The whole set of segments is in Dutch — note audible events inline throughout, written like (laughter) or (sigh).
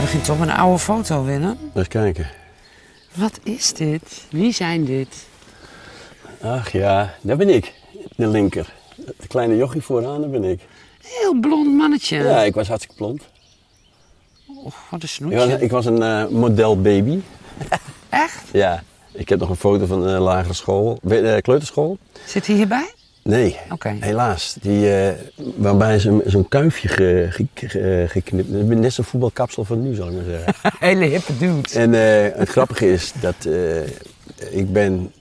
begint toch een oude foto, Willem. Eens kijken. Wat is dit? Wie zijn dit? Ach ja, daar ben ik. De linker. De kleine jochie vooraan, daar ben ik. Heel blond mannetje. Ja, ik was hartstikke blond. Och, wat een Ik was, snoetje. ik was een eh modelbaby. Echt? Ja. Ik heb nog een foto van de lagere school, we- eh, kleuterschool. Zit hij (laughs) hierbij? Nee, Oké. helaas. Die, eh, waarbij ze hem zo'n kuifje ge, ge, ge- eh, geknipt. Ik ben net zo'n voetbalkapsel van nu, zal ik maar zeggen. (laughs) Hele hippe dude. En eh, het grappige is dat eh, ik ben,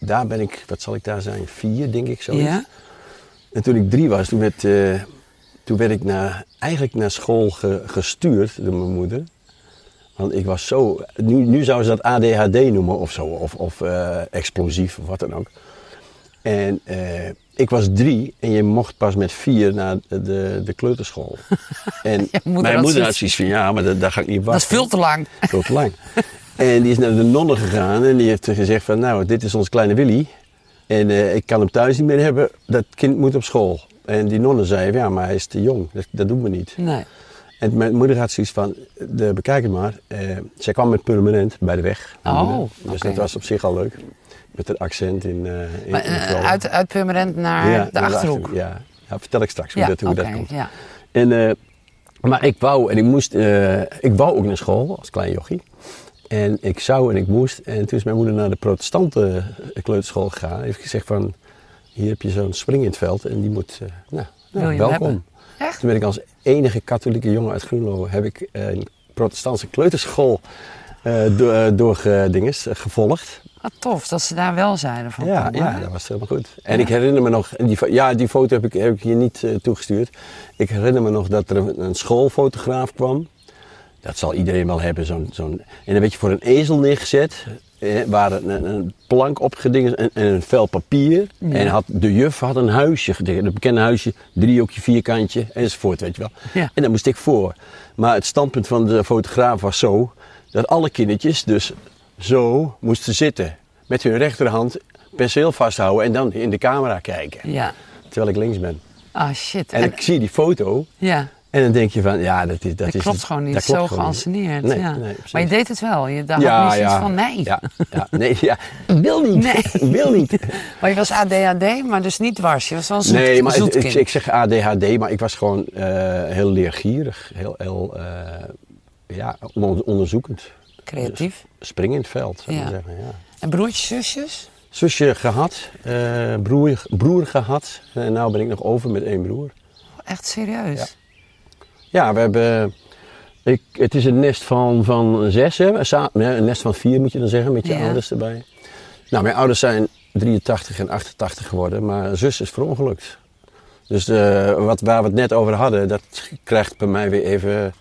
daar ben ik, wat zal ik daar zijn, vier denk ik zo. Ja? En toen ik drie was, toen werd, eh, toen werd ik naar, eigenlijk naar school ge- gestuurd door mijn moeder. Want ik was zo, nu, nu zouden ze dat ADHD noemen of zo, of, of eh, explosief of wat dan ook. En eh, ik was drie en je mocht pas met vier naar de, de kleuterschool. (laughs) En Je moeder mijn had moeder had zoiets- zoiets van, ja, maar dat, daar ga ik niet wachten. Dat is veel te lang. Veel te lang. En die is naar de nonnen gegaan en die heeft gezegd van, nou, dit is ons kleine Willy. En eh, ik kan hem thuis niet meer hebben, dat kind moet op school. En die nonnen zeiden, ja, maar hij is te jong, dat, dat doen we niet. Nee. En mijn moeder had zoiets van, de, bekijk het maar. Eh, zij kwam met permanent bij de weg. mijn Oh, moeder. Dus oké. dat was op zich al leuk. Met het accent in, eh in, Maar, in eh, Groningen. uit, uit Purmerend naar Ja, de Achterhoek. Ja. Ja, vertel ik straks hoe, dat, hoe dat oké, komt. Ja. En, eh, maar ik wou en ik moest, eh, ik wou ook naar school als klein jochie. En ik zou en ik moest. En toen is mijn moeder naar de protestante eh, kleuterschool gegaan. Heeft gezegd van, hier heb je zo'n spring in het veld en die moet, eh, nou, nou, Wil je hem welkom. hebben? Echt? Toen ben ik als enige katholieke jongen uit Groenlo, heb ik eh, een protestantse kleuterschool eh door, eh, doorgedinges, eh, gevolgd. Wat tof dat ze daar wel zeiden van. Ja, kom, ja, hè? dat was helemaal goed. En ik herinner me nog, en die, fo- ja, die foto heb ik, heb ik hier niet eh, toegestuurd. Ik herinner me nog dat er een, een schoolfotograaf kwam. Dat zal iedereen wel hebben. Zo'n, zo'n, en een beetje voor een ezel neergezet. Eh, waar een, een- een plank opgedingen en, en een vel papier. En had, de juf had een huisje getekend. Een bekende huisje, driehoekje, vierkantje enzovoort, weet je wel. Ja. En daar moest ik voor. Maar het standpunt van de fotograaf was zo dat alle kindertjes dus zo moesten zitten. Met hun rechterhand penseel vasthouden en dan in de camera kijken. Ja. Terwijl ik links ben. Ah shit. En, En- ik zie die foto ja. en dan denk je van, ja, dat is... Dat Dat is klopt gewoon niet, dat zo klopt gewoon niet. geanceneerd. Nee, ja. nee, precies. maar je deed het wel, je dacht ja, niet iets van nee. Ja, ja, nee, (laughs) ja. Wil niet. Nee. (laughs) Wil niet. Maar je was ADHD, maar dus niet dwars. Je was wel een (laughs) zoet, Nee, maar zoet ik, ik, kind. ik zeg ADHD, maar ik was gewoon eh, heel leergierig. Heel, heel eh, ja, on- onderzoekend. Creatief. Spring in het veld, zou ik Ja. zeggen. Ja. Dus. En broertjes, zusjes? Zusje gehad, eh, broer, broer gehad. En nou ben ik nog over met één broer. Echt serieus? Ja. Ja, we hebben. Ik, het is een nest van, van zes, hè? Een sa- nee, een nest van vier moet je dan zeggen, met je Ja. ouders erbij. Nou, mijn ouders zijn 83 en 88 geworden, maar zus is verongelukt. Dus eh, wat, waar we het net over hadden, dat krijgt bij mij weer even.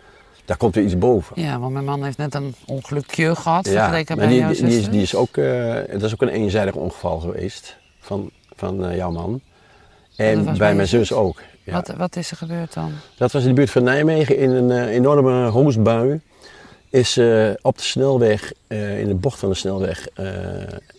Daar komt weer iets boven. Ja, want mijn man heeft net een ongelukje gehad vergeleken maar bij die, jouw die, die is, zuster. die is ook. eh, dat is ook een eenzijdig ongeval geweest van, van eh, jouw man. dat En was bij mijn mijn zus zus. ook. Ja. wat, wat is er gebeurd dan? Dat was in de buurt van Nijmegen in een eh, enorme hoosbui. Is eh, op de snelweg, eh, in de bocht van de snelweg, eh,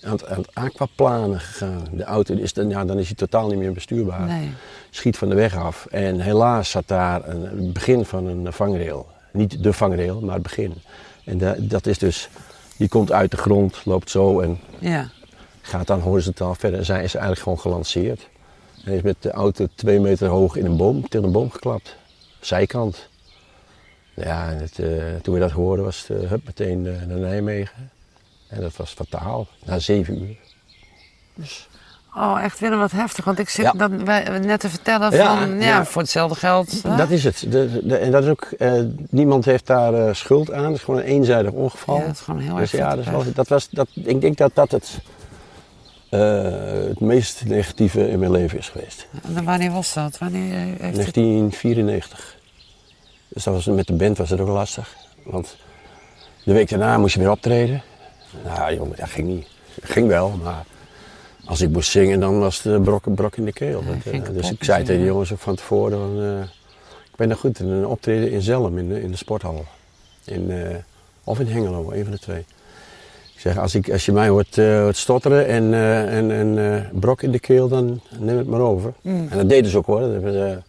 aan, het, aan het aquaplanen gegaan. De auto is dan, ja, dan is hij totaal niet meer bestuurbaar. Nee. Schiet van de weg af. En helaas zat daar een, het begin van een vangrail. Niet de vangrail, maar het begin. En da- dat is dus, die komt uit de grond, loopt zo en Ja. gaat dan horizontaal verder. En zij is eigenlijk gewoon gelanceerd. En is met de auto twee meter hoog in een boom, tegen een boom geklapt. Zijkant. Ja, en het, eh, toen we dat hoorden was het eh, hup, meteen eh, naar Nijmegen. En dat was fataal, na zeven uur. Oh, echt Willem, wat heftig. Want ik zit Ja. dat wij- net te vertellen Ja, van, ja, ja. voor hetzelfde geld. hè? Dat is het. De- de- en dat is ook, eh, niemand heeft daar eh, schuld aan. Het is gewoon een eenzijdig ongeval. Ja, dat is gewoon heel erg Dus ja, vette dat, is pech. wel- dat was, dat, ik denk dat dat het, eh, het meest negatieve in mijn leven is geweest. En dan wanneer was dat? Wanneer eh, heeft het... 1994. Dus dat was, met de band was het ook lastig. Want de week daarna moest je weer optreden. Nou jongen, dat ging niet. Ging wel, maar als ik moest zingen, dan was de brok, brok in de keel. Dat, ging eh, kapot dus ik zei tegen de natuurlijk. jongens ook van tevoren, van, eh, ik ben nog goed in een optreden in Zelm, in de, in de sporthal. In, eh, of in Hengelo, een van de twee. Ik zeg, als, ik, als je mij hoort, eh, hoort stotteren en, eh, en, en eh, brok in de keel, dan Mm. eh, neem het maar over. En dat deden ze ook hoor. Dat hebben ze-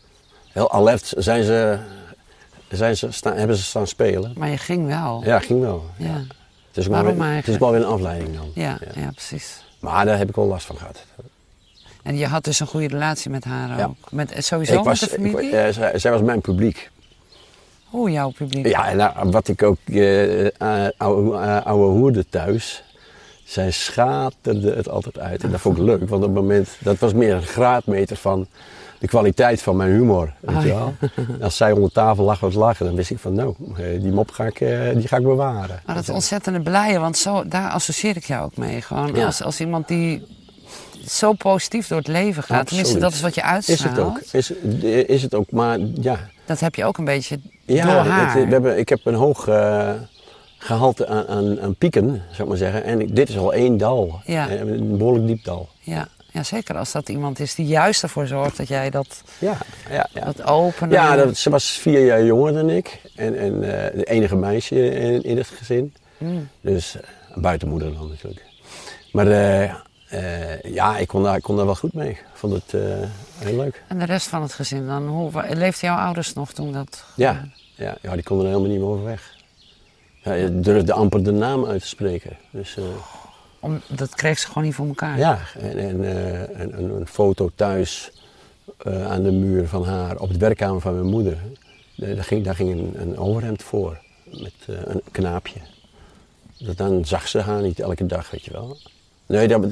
heel alert zijn ze zijn ze staan, hebben ze staan spelen. Maar je ging wel. Ja, ging wel. Ja, Het is, ook Waarom wel weer, eigenlijk? het is ook wel weer een afleiding dan. ja, ja, precies. Maar daar heb ik wel last van gehad. En je had dus een goede relatie met haar Ja. ook. Met, sowieso met de ik wa- familie? eh, zij, zij was mijn publiek. Hoe jouw publiek? Ja, en nou, wat ik ook, eh eh, oude, eh, oude hoerde thuis, zij schaterde het altijd uit. En dat vond ik leuk, want op het moment, dat was meer een graadmeter van de kwaliteit van mijn humor. Weet Ah, je ja. wel? En Als zij onder tafel lag wat lachen, dan wist ik van, nou, eh, die mop ga ik, eh, die ga ik bewaren. Maar Ah, dat ontzettende blije, want zo, daar associeer ik jou ook mee. Gewoon Ja. als, als iemand die zo positief door het leven gaat. Tenminste, Absoluut. dat is wat je uitstraalt. Is het ook, is, eh, is het ook, maar ja, Dat heb je ook een beetje Ja, door haar. het- we hebben, ik heb een hoog eh, gehalte aan, aan, aan pieken, zou ik maar zeggen. En ik- dit is al één dal. Ja. Eh, Een behoorlijk diep dal. ja, ja, zeker als dat iemand is die juist ervoor zorgt dat jij dat, Ja, ja, ja. dat openen... ja dat, ze was vier jaar jonger dan ik. En, en eh, de enige meisje in, in het gezin. Hmm. Dus eh, buitenmoeder dan natuurlijk. Maar eh, eh, ja, ik kon, daar, ik kon daar wel goed mee. Ik vond het eh, heel leuk. En de rest van het gezin dan? Hoe, wa- leefden jouw ouders nog toen dat... Ja, ja, ja die konden er helemaal niet meer over weg. Ja, je durfde amper de naam uit te spreken. Dus, eh, Om, dat kreeg ze gewoon niet voor elkaar. Ja, en, en eh, een, een, een foto thuis eh, aan de muur van haar op de werkkamer van mijn moeder. Eh, Daar ging, daar ging een, een overhemd voor met eh, een knaapje. Dat dan zag ze haar niet elke dag, weet je wel. Nee, dat,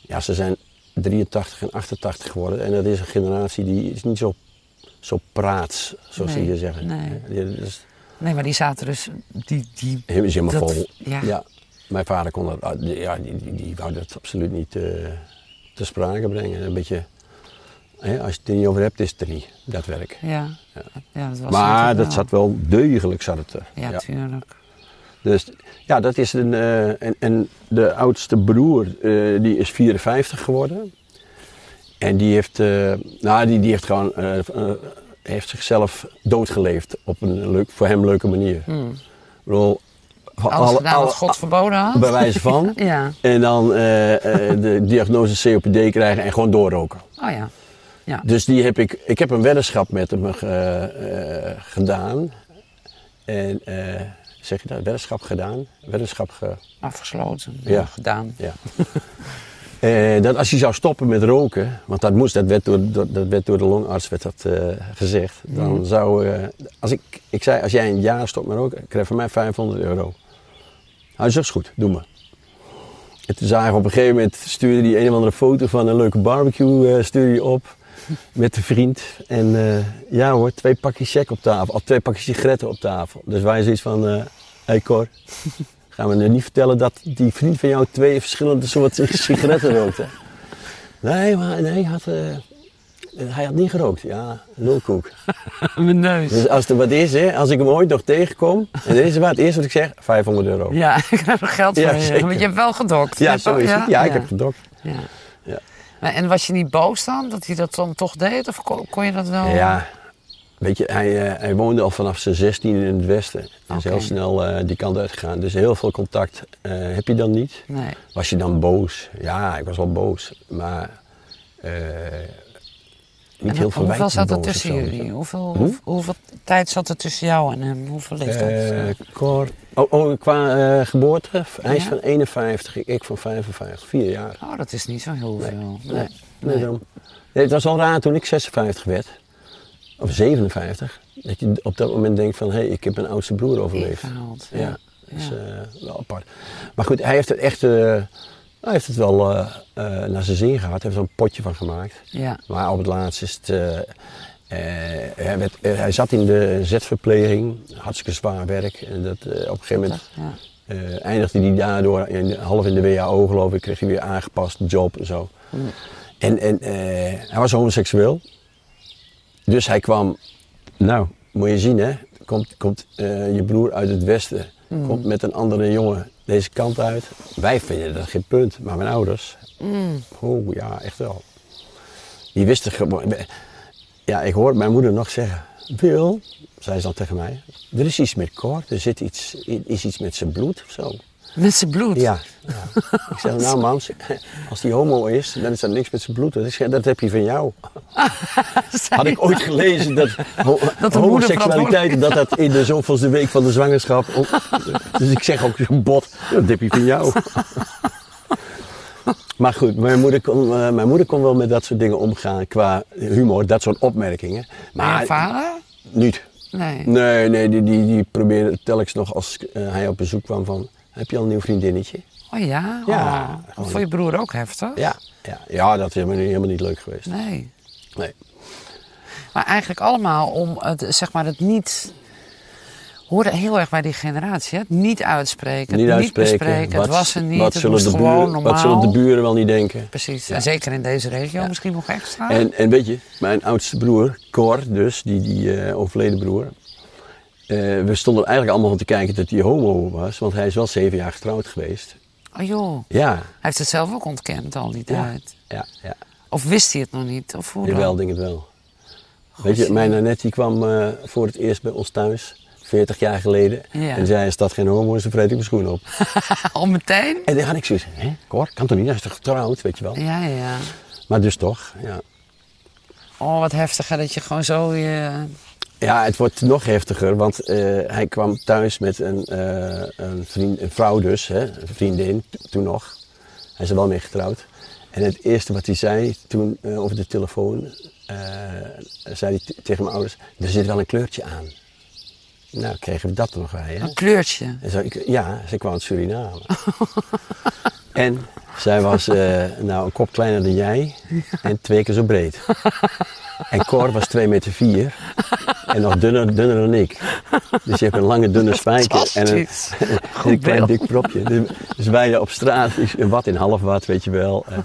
ja, ze zijn 83 en 88 geworden en dat is een generatie die is niet zo, zo praats, zoals ze Nee, hier zeggen. nee. Ja, dat is Nee, maar die zaten dus... Die, die, heel- is helemaal Dat- vol. ja. Mijn vader kon dat, ah, die- ja, die, die, die wou dat absoluut niet eh, te sprake brengen. Een beetje, hè, als je het er niet over hebt, is het er niet, dat werk. ja. Ja. dat was maar natuurlijk dat wel. zat wel degelijk, zat het er. Ja, tuurlijk. Dus ja, dat is een, eh, en, en de oudste broer, eh, die is 54 geworden. En die heeft, eh, nou, die, die heeft gewoon, eh, eh, heeft zichzelf doodgeleefd op een leuk, voor hem leuke manier. Hmm. Ik bedoel, Alles alle- gedaan alle- wat God verboden had. bij wijze (laughs) van. Ja. En dan eh, eh, de (laughs) diagnose COPD krijgen en gewoon doorroken. Oh ja. Ja. Dus die heb ik, ik heb een weddenschap met hem eh, eh, gedaan. En eh, zeg je dat? Weddenschap gedaan? Weddenschap ge... Afgesloten. Ja. Gedaan. Ja. Eh, dat als je zou stoppen met roken, want dat moest, dat werd door, door- dat werd door de longarts werd dat, eh, gezegd. Dan zou, eh, als ik, ik zei, als jij een jaar stopt met roken, krijg je van mij 500 euro. Hij zegt, is goed, doe maar. En toen zagen we op een gegeven moment, stuurde hij een of andere foto van een leuke barbecue eh, stuurde hij op. Met een vriend. En eh, ja hoor, twee pakjes check op tafel. Of twee pakjes sigaretten op tafel. Dus wij zoiets van, eh hey Cor, Gaan we nu niet vertellen dat die vriend van jou twee verschillende soorten (laughs) sigaretten rookte? Nee, maar nee, hij had, eh, hij had niet gerookt. Ja, lulkoek. (laughs) Mijn neus. Dus als er wat is, hè, als ik hem ooit nog tegenkom, en dit is wat, het eerste wat ik zeg, 500 euro. Ja, (laughs) ik heb er geld voor. Ja, je. zeker. Want je hebt wel gedokt. Je Ja, hebt zo ook- is het. Ja, ik heb gedokt. Ja. Ja. Maar- En was je niet boos dan, dat hij dat dan toch deed? Of kon, kon je dat wel? Ja, weet je, hij, eh, hij woonde al vanaf zijn 16 in het Westen. Hij is Oké. heel snel eh, die kant uitgegaan. Dus heel veel contact eh, heb je dan niet. Nee. Was je dan boos? Ja, ik was wel boos. Maar eh, niet En heel veel hoeveel zat er boos of tussen zo. jullie? Hoeveel, Hoe? hoe- hoeveel tijd zat er tussen jou en hem? Hoeveel leeftijd? Eh, Cor, oh, oh, qua eh, geboorte, hij is Ja? van 51, ik van 55, vier jaar. oh, dat is niet zo heel veel. Nee. Nee, nee, daarom. Nee, het was al raar toen ik 56 werd, of 57, dat je op dat moment denkt van, hé, hey, ik heb mijn oudste broer overleefd. Ingehaald, ja. Ja, dat is eh, wel apart. Maar goed, hij heeft het echt, eh, hij heeft het wel eh, eh, naar zijn zin gehad, hij heeft er een potje van gemaakt. Ja. Maar op het laatst is het. eh, eh, hij, werd, eh, hij zat in de zetverpleging, hartstikke zwaar werk. En dat, eh, op een gegeven moment ja. eh, eindigde hij daardoor in, half in de WHO, geloof ik. Kreeg hij weer aangepast, job en zo. En, en eh, hij was homoseksueel. Dus hij kwam. Nou, moet je zien, hè? Komt, komt eh, je broer uit het Westen. Komt met een andere jongen deze kant uit. Wij vinden dat geen punt, maar mijn ouders. Oh ja, echt wel. Die wisten gewoon. Ja, ik hoor mijn moeder nog zeggen. Wil, zei ze dan tegen mij, er is iets met Cor, er zit iets, is iets met zijn bloed of zo. Met zijn bloed. (laughs) Ja. Ik zeg, nou mam, als die homo is, dan is dat niks met zijn bloed. Dat, is, dat heb je van jou. Had ik ooit gelezen dat, ho- (laughs) Dat de moeder homoseksualiteit, dat dat in de zoveelste week van de zwangerschap... Dus ik zeg ook zo'n bot, dat heb je van jou. Maar goed, mijn moeder, kon, eh, mijn moeder kon wel met dat soort dingen omgaan qua humor, dat soort opmerkingen. Maar je Maar vader? niet. Nee. Nee, nee, die, die, die probeerde telkens nog als eh, hij op bezoek kwam van... Heb je al een nieuw vriendinnetje? Oh ja? Ja, Oh. Dat gewoon- vond je broer ook heftig? Ja, ja, ja dat is helemaal niet, helemaal niet leuk geweest. Nee. Nee. Maar eigenlijk allemaal om het, zeg maar, het niet... Hoorde heel erg bij die generatie, hè? Het niet uitspreken, Niet het uitspreken. niet bespreken, Wat- het was er niet, wat het zullen moest de gewoon buren- normaal. Wat zullen de buren wel niet denken? Precies, en zeker in deze regio misschien nog extra. En, en weet je, mijn oudste broer, Cor, dus, die, die eh, overleden broer. eh, we stonden eigenlijk allemaal te kijken dat hij homo was, want hij is wel zeven jaar getrouwd geweest. Oh joh, Ja, hij heeft het zelf ook ontkend al die ja, tijd. ja, ja. Of wist hij het nog niet? Of hoe dan? Jawel, denk het wel. Weet je, mijn Annette die kwam eh, voor het eerst bij ons thuis, 40 jaar geleden. Ja. En zei, als dat geen homo is, dan vreet ik mijn schoen op. (laughs) Al meteen? en dan had ik zoiets, hè, Cor, kan toch niet, hij is toch getrouwd, weet je wel. Ja, ja. Maar dus toch, ja. Oh, wat heftig hè, dat je gewoon zo je... Ja, het wordt nog heftiger, want eh, hij kwam thuis met een, eh, een, vriend, een vrouw dus, hè, een vriendin, t- toen nog. Hij is er wel mee getrouwd. En het eerste wat hij zei toen eh, over de telefoon, eh, zei hij t- tegen mijn ouders, er zit wel een kleurtje aan. Nou, kregen we dat er nog bij, hè? Een kleurtje. En zei ik, ja, ze kwam (laughs) uit Suriname. en zij was eh, nou een kop kleiner dan jij en twee keer zo breed. En Cor was 2 meter 4 en nog dunner, dunner dan ik. Dus je hebt een lange dunne spijker en (laughs) een, Fantastisch. en een klein beeld. dik propje. Dus, dus wij op straat, is een wat in half wat, weet je wel. En,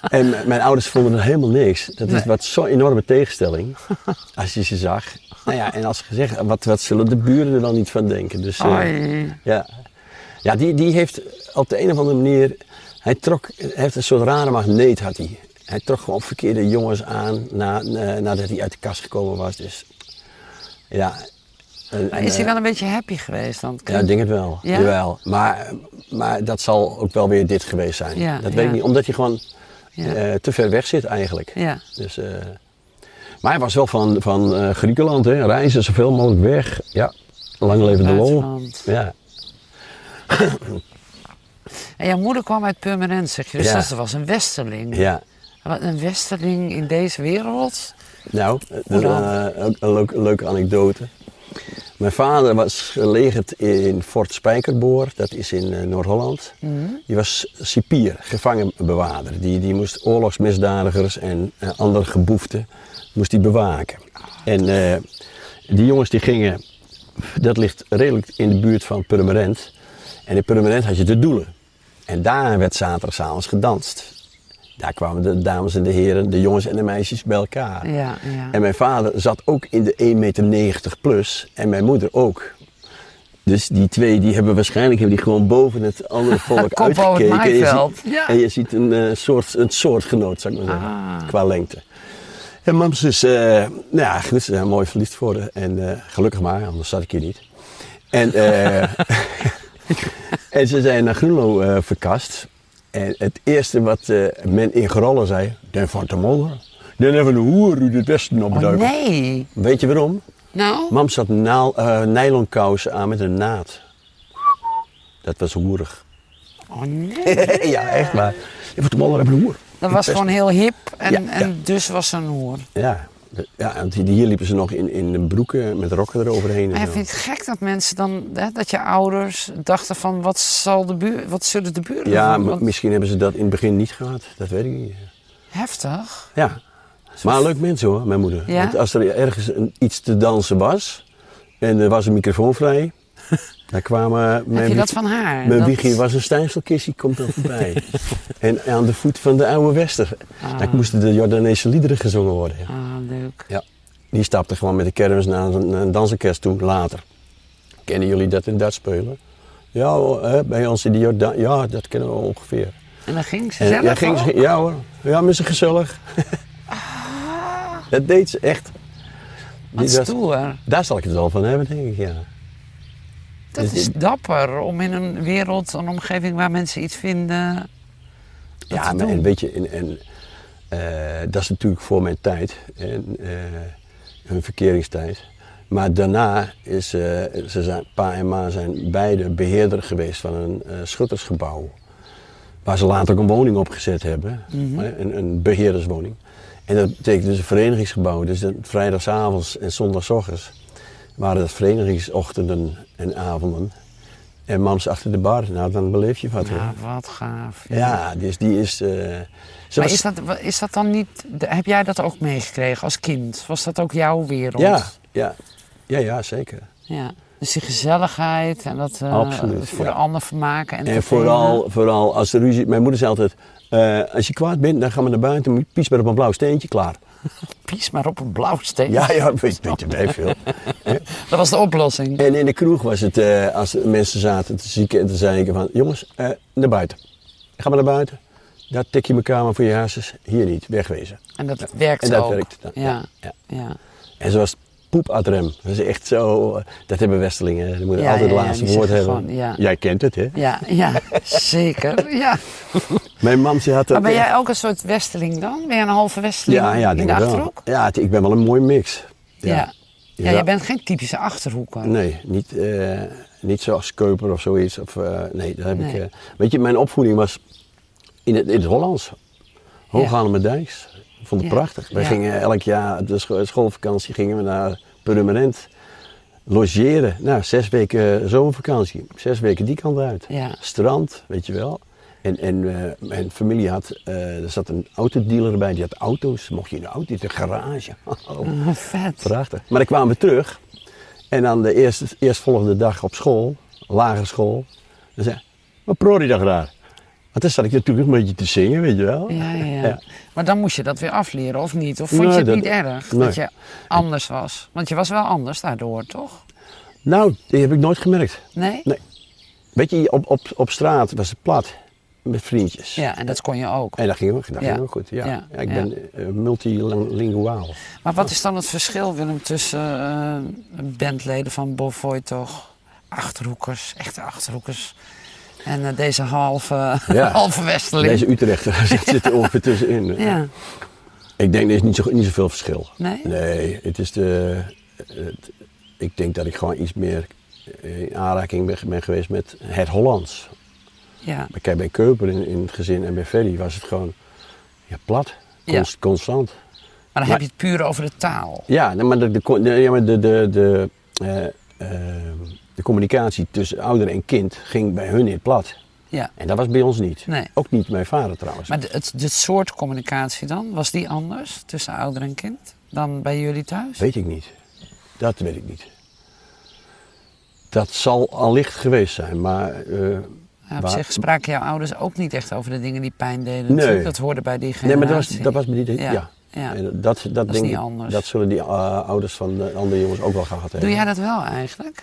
en m- mijn ouders vonden er helemaal niks. Dat is Nee. wat zo'n enorme tegenstelling, als je ze zag. Nou ja, en als gezegd, wat, wat zullen de buren er wel niet van denken? Dus, eh, Oei. ja, ja die, die heeft op de een of andere manier. Hij trok, hij heeft een soort rare magneet had hij. Hij trok gewoon verkeerde jongens aan na, na- nadat hij uit de kast gekomen was. Dus ja. En- Maar en, is hij eh, wel een beetje happy geweest? Want Ja, ik denk het wel. Ja? Jawel. Maar, maar dat zal ook wel weer dit geweest zijn. Ja, dat weet ja. ik niet, omdat hij gewoon Ja. eh, te ver weg zit eigenlijk. Ja. Dus, eh, maar hij was wel van, van eh, Griekenland, hè. reizen zoveel mogelijk weg. Ja, lang leven de lol. Buitenland. Ja. En jouw moeder kwam uit Purmerend, zeg je. Dus Ja. dat ze was een westerling. ja, Wat een westerling in deze wereld? Nou, Hoe dat, dan? eh, ook een leuke, leuke anekdote. Mijn vader was gelegerd in Fort Spijkerboor, dat is in eh, Noord-Holland. Mhm. Die was cipier, gevangenbewaarder. Die, die moest oorlogsmisdadigers en eh, andere geboeften moest die bewaken. En eh, die jongens die gingen, dat ligt redelijk in de buurt van Purmerend. En in Purmerend had je de Doelen. En daar werd zaterdagavond gedanst. Daar kwamen de dames en de heren, de jongens en de meisjes bij elkaar. Ja, ja. En mijn vader zat ook in de 1,90 meter plus en mijn moeder ook. Dus die twee die hebben waarschijnlijk hebben die gewoon boven (laughs) het andere volk Kop boven het uitgekeken. En je maaiveld. ziet- Ja. En je ziet een, eh, soort, een soortgenoot, zou ik maar zeggen, Ah. qua lengte. En mams dus, eh, nou ja, goed, ze zijn mooi verliefd worden. En eh, gelukkig maar, anders zat ik hier niet. En, eh, (laughs) en ze zijn naar Groenlo eh, verkast. En het eerste wat eh, men in Grollen zei, Den van de Moller. Den hebben een hoer uit het westen Oh, opduiken. nee. Weet je waarom? Nou? Mam zat naal, eh, nylonkousen aan met een naad. Dat was (laughs) hoerig. Oh nee. ja, echt waar. Den van de Moller hebben een hoer. Dat was gewoon heel hip en, Ja, ja. en dus was ze een hoer. Ja, de- ja want die- die hier liepen ze nog in, in broeken met rokken eroverheen. Maar En je zo. vindt het gek dat mensen dan, hè, dat je ouders dachten van wat, zal de buur, wat zullen de buren Ja, doen? maar Want- misschien hebben ze dat in het begin niet gehad. Dat weet ik niet. Heftig. Ja. Maar een leuk mensen hoor, mijn moeder. Ja? Want als er ergens een, iets te dansen was en er was een microfoon vrij, (laughs) dan kwamen mijn, Heb je wie- dat van haar? mijn Dat- wiegje was een stijnselkistje, komt dan (laughs) voorbij. en aan de voet van de oude Wester. Ah. Dan moesten de Jordaanese liederen gezongen worden. Ah, leuk. Ja. Die stapte gewoon met de kermis naar een, naar een dansorkest toe, later. Kennen jullie dat in dat spelen? Ja, hoor, hè, bij ons in de Jordaan. Ja, dat kennen we ongeveer. En dan ging ze En, zelf ja, ging ook? ze, ja hoor. Ja, maar ze gezellig. Dat deed ze echt. Wat Die- dat- stoer. daar zal ik het wel van hebben, denk ik, ja. Dat Dus is dit- dapper om in een wereld, een omgeving waar mensen iets vinden. dat Ja, te maar doen. en weet je, en, en, eh, dat is natuurlijk voor mijn tijd, en, eh, hun verkeringstijd. Maar daarna is, eh, ze zijn, pa en ma zijn beide beheerder geweest van een eh, schuttersgebouw. Waar ze later ook een woning opgezet hebben, Mhm. hè, een, een beheerderswoning. En dat betekent dus een verenigingsgebouw. Dus dat vrijdagavonds en zondagochtends waren dat verenigingsochtenden en avonden. En mams achter de bar, nou dan beleef je wat. hoor. Ja, Ah, wat gaaf. Ja, dus die is. eh, ze Maar was- is dat, wa- is dat dan niet. de- Heb jij dat ook meegekregen als kind? Was dat ook jouw wereld? ja, ja, ja, ja, zeker. ja. Dus die gezelligheid en dat eh, Absoluut, voor ja. de ander vermaken. En, En te vooral, vinden. vooral als de ruzie. Mijn moeder zei altijd: eh, als je kwaad bent, dan gaan we naar buiten. moet je Pies maar op een blauw steentje klaar. Pies maar op een blauw steen. Ja, ja, (laughs) weet, weet je bij veel. Dat was de oplossing. En in de kroeg was het, eh, als de mensen zaten te zieken en te zeiken van: jongens, eh, naar buiten. Ga maar naar buiten. Daar tik je elkaar maar voor je hersens. Hier niet, wegwezen. En dat werkt En dat ook. werkt dan, Ja. ja, ja. En zoals poep ad rem. Dat is echt zo. eh, Dat hebben Westelingen. Die moeten Ja, altijd ja, het ja, laatste die woord hebben. zeggen gewoon, ja. Jij kent het, hè? Ja, ja, zeker. (laughs) Ja. Mijn mam ze had dat. eh, Maar Ah, ben jij ook een soort westeling dan? Ben jij een halve westeling Ja, ja, in denk de ik wel. Achterhoek? Ja, het- ik ben wel een mooie mix. Ja. Ja. Ja. jij bent geen typische Achterhoeker. Nee, niet, eh, niet zoals Keuper of zoiets. Of, eh, nee, dat heb ik. Nee. eh, weet je, mijn opvoeding was in het, in het Hollands. Hooghalemerdijks. Ik vond het Ja. prachtig. Wij Ja. gingen elk jaar op de scho- schoolvakantie gingen we naar Purmerend logeren. Nou, zes weken zomervakantie. Zes weken die kant uit. Ja. Strand, weet je wel. En, en eh, mijn familie had, eh, er zat een autodealer bij, die had auto's. Mocht je in de auto, in de garage. (laughs) Oh, (laughs) vet. Prachtig. Maar dan kwamen we terug. En dan de eerste, eerstvolgende dag op school, lagere school. Dan zei wat proor je daar raar? Want dan zat ik natuurlijk een beetje te zingen, weet je wel. Ja, ja, ja. Ja. Maar dan moest je dat weer afleren, of niet? Of vond Nee, je het dat- niet erg nee. dat je anders was? Want je was wel anders daardoor, toch? Nou, die heb ik nooit gemerkt. Nee? Nee. Weet je, op, op, op straat was het plat met vriendjes. Ja, en dat kon je ook. En dat ging ook, dat Ja. ging ook goed. Ja. Ja, Ja, ik ja. ben eh, multilinguaal. Maar wat is dan het verschil, Willem, tussen eh, bandleden van Bovoy toch? Achterhoekers, echte Achterhoekers. En eh, deze halve, Ja. (laughs) halve Westeling. Deze Utrechter (laughs) zit, zit er ongeveer tussenin. Ja, Ik denk, er is niet, zo, niet zoveel verschil. Nee? Nee, het is de... het- ik denk dat ik gewoon iets meer eh, in aanraking ben, ben geweest met het Hollands. ja. Maar Kijk, bij Keuper in, in het gezin en bij Ferry was het gewoon ja, plat, Ja. const- constant. Maar dan heb Maar- je het puur over de taal. Ja, nee, maar de, de, con- de- ja, maar de, de, de, eh, ehm, de communicatie tussen ouder en kind ging bij hun in het plat. Ja. En dat was bij ons niet. Nee. Ook niet mijn vader trouwens. Maar de, het, de soort communicatie dan, was die anders tussen ouder en kind dan bij jullie thuis? Weet ik niet. Dat weet ik niet. Dat zal allicht geweest zijn, maar eh, Ja, Nou, op waar- zich spraken jouw ouders ook niet echt over de dingen die pijn deden. Nee. natuurlijk. Dat hoorde bij die nee, generatie. maar dat was, dat was niet. Ja. Ja, ja. En Dat, dat, is denk niet ik, anders. Dat zullen die eh, ouders van de andere jongens ook wel gehad hebben. Doe jij dat wel eigenlijk?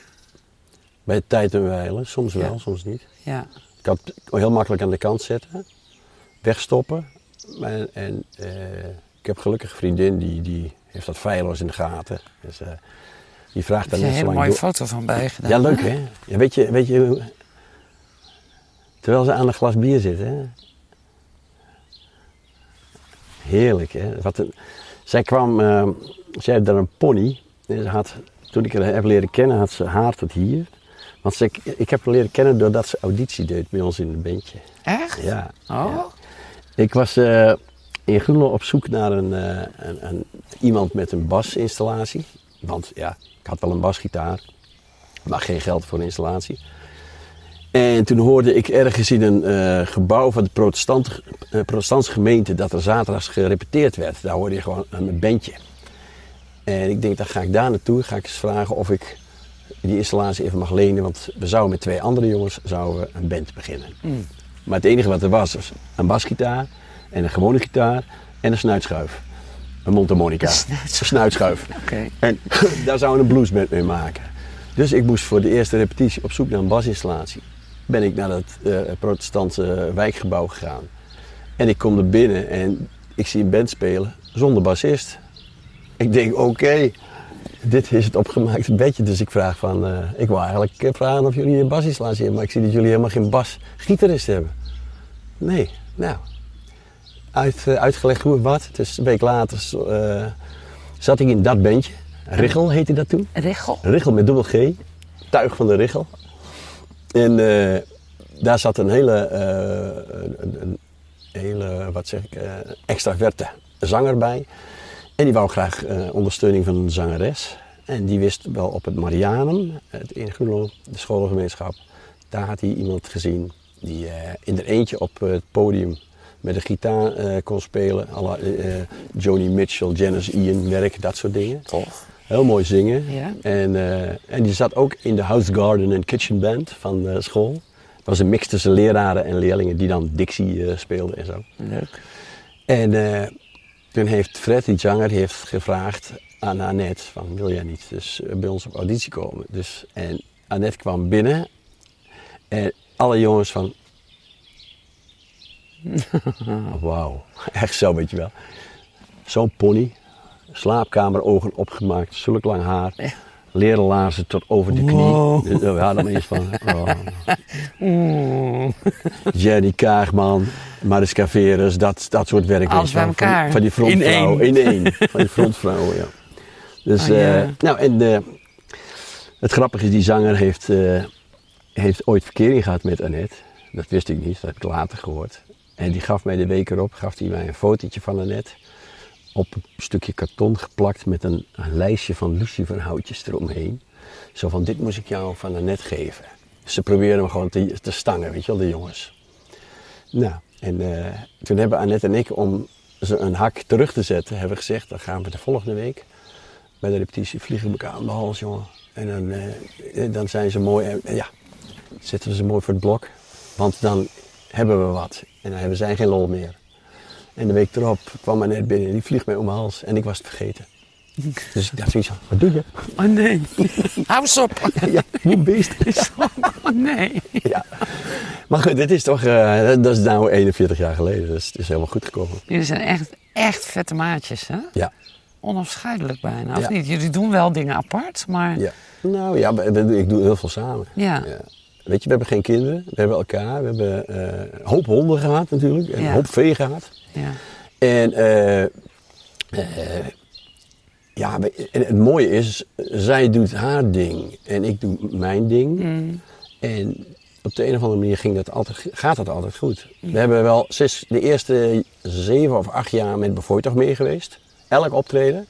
Bij tijd en wijlen, soms wel, Ja. soms niet. Ja. Ik kan het heel makkelijk aan de kant zetten, wegstoppen. En, en eh, ik heb gelukkig een vriendin die, die heeft dat feilloos in de gaten. Dus, eh, die vraagt Daar heb je een dan net zo hele lang mooie door. foto van bijgedaan. Ja, leuk hè? Ja, weet, je, weet je, hoe- terwijl ze aan een glas bier zitten. Hè? Heerlijk hè? Wat een... Zij kwam, eh, zij had daar een pony. En ze had, toen ik haar heb leren kennen, had ze haar tot hier. Want ze, ik heb haar leren kennen doordat ze auditie deed bij ons in het bandje. Echt? Ja. Oh? Ik was eh, in Groenlo op zoek naar een, eh, een, een- iemand met een basinstallatie. Want ja, ik had wel een basgitaar, maar geen geld voor een installatie. En toen hoorde ik ergens in een eh, gebouw van de protestant, eh, protestantse gemeente dat er zaterdags gerepeteerd werd. Daar hoorde je gewoon een bandje. En ik denk, dan ga ik daar naartoe, ga ik eens vragen of ik die installatie even mag lenen. Want we zouden met twee andere jongens zouden we een band beginnen. Hmm. Maar het enige wat er was, was een basgitaar en een gewone gitaar en een snuitschuif. Een mondharmonica. Een snuitschuif. Een snuitschuif. Oké. En (laughs) daar zouden we een bluesband mee maken. Dus ik moest voor de eerste repetitie op zoek naar een basinstallatie. Ben ik naar dat eh, protestantse wijkgebouw gegaan. En ik kom er binnen en ik zie een band spelen zonder bassist. Ik denk, oké, dit is het opgemaakte bedje. Dus ik vraag van, eh, ik wil eigenlijk eh, vragen of jullie een basist laten zien. Maar ik zie dat jullie helemaal geen basgitarist hebben. Nee, nou. Uit, eh, uitgelegd hoe en wat. Dus een week later eh, zat ik in dat bandje. Richel heette dat toen. Richel. Richel met dubbel G. Tuig van de Richel. En eh, daar zat een hele, eh, een, een hele wat zeg ik, eh, extraverte zanger bij. En die wou graag eh, ondersteuning van een zangeres. En die wist wel op het Marianum, het in Groenlo, de scholengemeenschap. Daar had hij iemand gezien die eh, in er eentje op eh, het podium met een gitaar eh, kon spelen. à la, eh, eh, Joni Mitchell, Janis Ian, Merk, dat soort dingen. Tof. Heel mooi zingen. Ja. En, eh, en die zat ook in de House Garden and Kitchen Band van de school. Dat was een mix tussen leraren en leerlingen die dan Dixie eh, speelden en zo. Leuk. En eh, toen heeft Fred, die zanger, die heeft gevraagd aan Annette van wil jij niet dus, eh, bij ons op auditie komen. Dus, en Annette kwam binnen en alle jongens van (laughs) wauw, echt zo weet je wel. Zo'n pony, slaapkamerogen opgemaakt, zulk lang haar. Leren laarzen tot over de knie. Wow. Dus, eh, we hadden hem eens van. oh. Jenny Kaagman, Mariska Veres, dat, dat soort werk. Alles bij Van- van- elkaar. Van, die frontvrouw. In In één. Van die frontvrouw, ja. Dus, Oh, eh, ja. nou, en eh, het grappige is, die zanger heeft, eh, heeft ooit verkering gehad met Annette. Dat wist ik niet, dat heb ik later gehoord. En die gaf mij de week erop, gaf hij mij een fotootje van Annette. Op een stukje karton geplakt met een, een lijstje van luciferhoutjes eromheen. Zo van, dit moest ik jou van Annette geven. Ze proberen hem gewoon te, te stangen, weet je wel, de jongens. Nou, en eh, toen hebben Annette en ik, om ze een hak terug te zetten, hebben we gezegd, dan gaan we de volgende week bij de repetitie vliegen we elkaar aan de hals, jongen. En dan, eh, eh, dan zijn ze mooi, en, en ja, zetten we ze mooi voor het blok. Want dan hebben we wat. En dan hebben zij geen lol meer. En de week erop kwam Annette binnen en die vliegt mij om mijn hals. En ik was het vergeten. Dus ik dacht zoiets van, wat doe je? (laughs) Oh nee. (laughs) Hou eens op. Ja, hoe beest. (laughs) Oh (laughs) nee. Ja. Maar goed, dit is toch, eh, dat is nou 41 jaar geleden. Dus het is helemaal goed gekomen. Jullie zijn echt, echt vette maatjes, hè? Ja. Onafscheidelijk bijna, of Ja. niet? Jullie doen wel dingen apart, maar... ja. Nou ja, we- we- ik doe heel veel samen. Ja. Weet je, we hebben geen kinderen. We hebben elkaar. We hebben eh, een hoop honden gehad natuurlijk. En Ja. een hoop vee gehad. Ja. En eh, eh, ja, we- en het mooie is, zij doet haar ding en ik doe mijn ding. Mm. En op de een of andere manier ging dat altijd, gaat dat altijd goed. Mm. We hebben wel sinds de eerste zeven of acht jaar met Bevoort toch mee geweest. Elk optreden.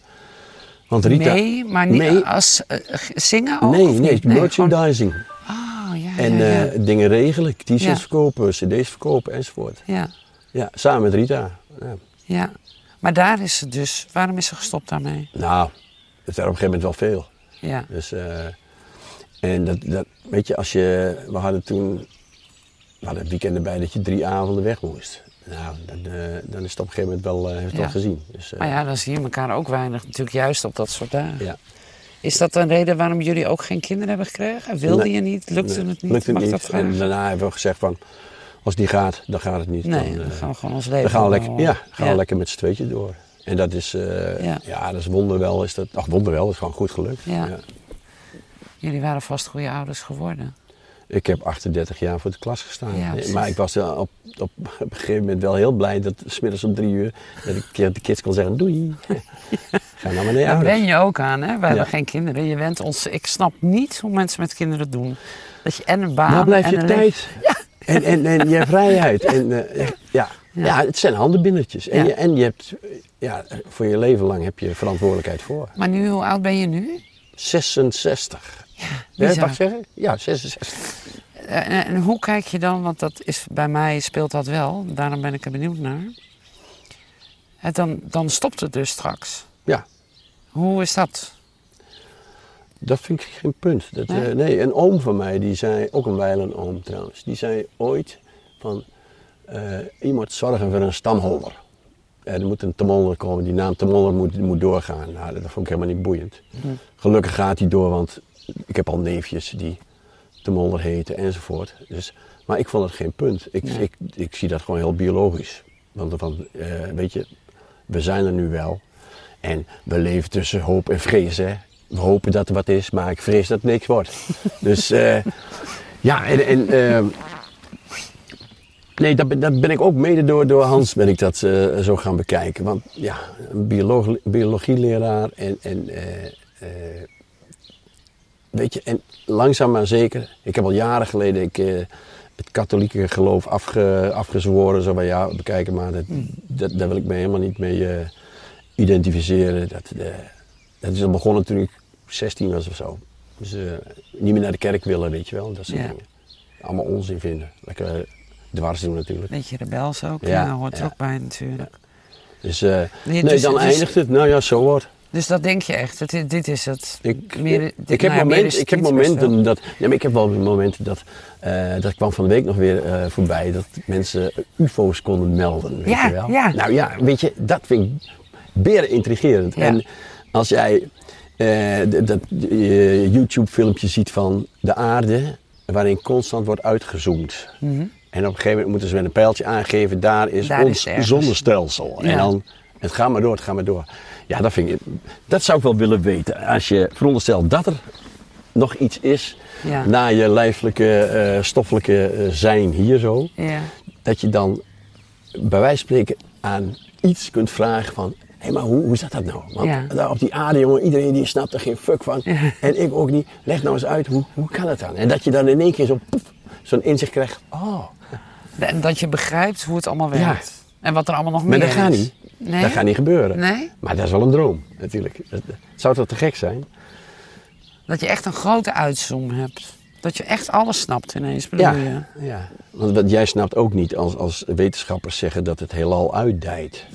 Want Rita. Mee, maar niet Mee. als eh, g- zingen ook? nee, of niet? nee, gewoon- merchandising. Ah, ja, En ja, ja. eh, dingen regelen, t-shirts Ja. verkopen, cd's verkopen enzovoort. ja, Ja, samen met Rita. Ja. ja. Maar daar is ze dus... Waarom is ze gestopt daarmee? Nou, het werd op een gegeven moment wel veel. Ja. Dus, eh, en dat, dat, weet je, als je, we hadden toen, we hadden weekenden bij dat je drie avonden weg moest. Nou, dan, eh, dan is het op een gegeven moment wel, eh heeft het Ja. wel gezien. Dus, eh, Maar ja, dan zie je elkaar ook weinig natuurlijk juist op dat soort dagen. ja. Is dat een reden waarom jullie ook geen kinderen hebben gekregen? Wilde Nee. je niet? Lukte Nee, het niet? Lukte Mag het niet. dat en eh, vragen? daarna hebben we gezegd van, als die gaat, dan gaat het niet. Nee, dan, eh, dan gaan we gewoon ons dan leven gaan we lekker, opbouwen. ja, gaan we lekker met z'n tweetje door. En dat is, eh, Ja. ja. dat is wonderwel, is dat, ach wonderwel, is gewoon goed gelukt. Ja. Jullie waren vast goede ouders geworden. Ik heb 38 jaar voor de klas gestaan. Eh, Ja, precies. maar ik was wel op, op, (laughs) een gegeven moment wel heel blij dat smiddags om drie uur dat ik tegen de kids kon (laughs) zeggen doei. Ga nou maar naar je Daar ouders. ben je ook aan, hè? We hebben Ja. geen kinderen. Je bent ons... Ik snap niet hoe mensen met kinderen doen. Dat je en een baan... Nou blijf en je een tijd. (laughs) En, en, en je vrijheid. En, eh, ja. Ja. het zijn handenbindertjes. En, Ja. je, en je hebt, eh, ja, voor je leven lang heb je verantwoordelijkheid voor. Maar nu, hoe oud ben je nu? 66. Ja, bizar. mag ik zeggen? Ja, 66. Eh, En, en hoe kijk je dan, want dat is, bij mij speelt dat wel, daarom ben ik er benieuwd naar. Het dan, dan stopt het dus straks. Ja, Hoe is dat? Dat vind ik geen punt. Dat, eh, Nee? nee? een oom van mij, die zei, ook een wijlen oom trouwens, die zei ooit van eh, je moet zorgen voor een stamholder. Eh, er moet een tamolder komen, die naam tamolder moet, moet doorgaan. Nou, dat vond ik helemaal niet boeiend. Gelukkig gaat die door, want ik heb al neefjes die tamolder heten enzovoort. Dus, maar ik vond het geen punt. Ik, Nee. ik, ik zie dat gewoon heel biologisch. Want, want eh, weet je, we zijn er nu wel. En we leven tussen hoop en vrees, hè. We hopen dat er wat is, maar ik vrees dat het niks wordt. dus eh, ja, en, en eh, nee, dat, ben- dat ben ik ook mede door, door Hans ben ik dat eh, zo gaan bekijken. Want ja, een bioloog, biologieleraar en, en eh, eh, weet je, en langzaam maar zeker. Ik heb al jaren geleden ik, eh, het katholieke geloof afge, afgezworen. Zo van ja, bekijken maar, dat, dat, daar wil ik me helemaal niet mee eh, identificeren. Dat, eh, dat is al begonnen toen ik 16 was of zo. Dus eh, niet meer naar de kerk willen, weet je wel. Dat soort Ja. dingen. Allemaal onzin vinden. Lekker eh, dwars doen natuurlijk. Beetje rebels ook, Ja, ja, hoort er ja. ook bij natuurlijk. Dus, eh, Nee, nee, dus- dan dus- eindigt het. Nou ja, zo wordt. Dus dat denk je echt, dat dit, dit is het. Ik, Meer- ik- dit- ik heb, nou ja, meer is momenten, het ik heb niet, maar wel. momenten dat. Ja, maar ik heb wel momenten dat. eh, dat kwam van de week nog weer eh, voorbij. Dat mensen eh, UFO's konden melden. Weet Ja, je wel? ja. Nou ja, weet je, dat vind ik beren intrigerend. Ja. En als jij eh, d- dat eh, YouTube-filmpje ziet van de aarde. waarin constant wordt uitgezoomd. En op een gegeven moment moeten ze met een pijltje aangeven. daar Mhm. is Daar is ons het ergens. zonnestelsel. Ja. En dan het gaat maar door, het gaat maar door. Ja, dat, vind ik, dat zou ik wel willen weten. Als je veronderstelt dat er nog iets is Ja. na je lijfelijke, eh, stoffelijke eh, zijn hier zo. Ja. Dat je dan bij wijze van spreken aan iets kunt vragen van... Hé, maar hoe, hoe zat dat nou? Want Ja. daar op die aarde, jongen, iedereen die snapt er geen fuck van. En ik ook niet. Leg nou eens uit, hoe, hoe kan het dan? En dat je dan in één keer zo, poef, zo'n inzicht krijgt. Oh, En dat je begrijpt hoe het allemaal Ja. werkt. En wat er allemaal nog maar meer dat is. gaat niet. Nee? Dat gaat niet gebeuren. Nee? Maar dat is wel een droom, natuurlijk. Dat- Zou dat te gek zijn? Dat je echt een grote uitzoom hebt. Dat je echt alles snapt ineens, bedoel je? ja. Want wat jij snapt ook niet als, als wetenschappers zeggen dat het heelal uitdijt.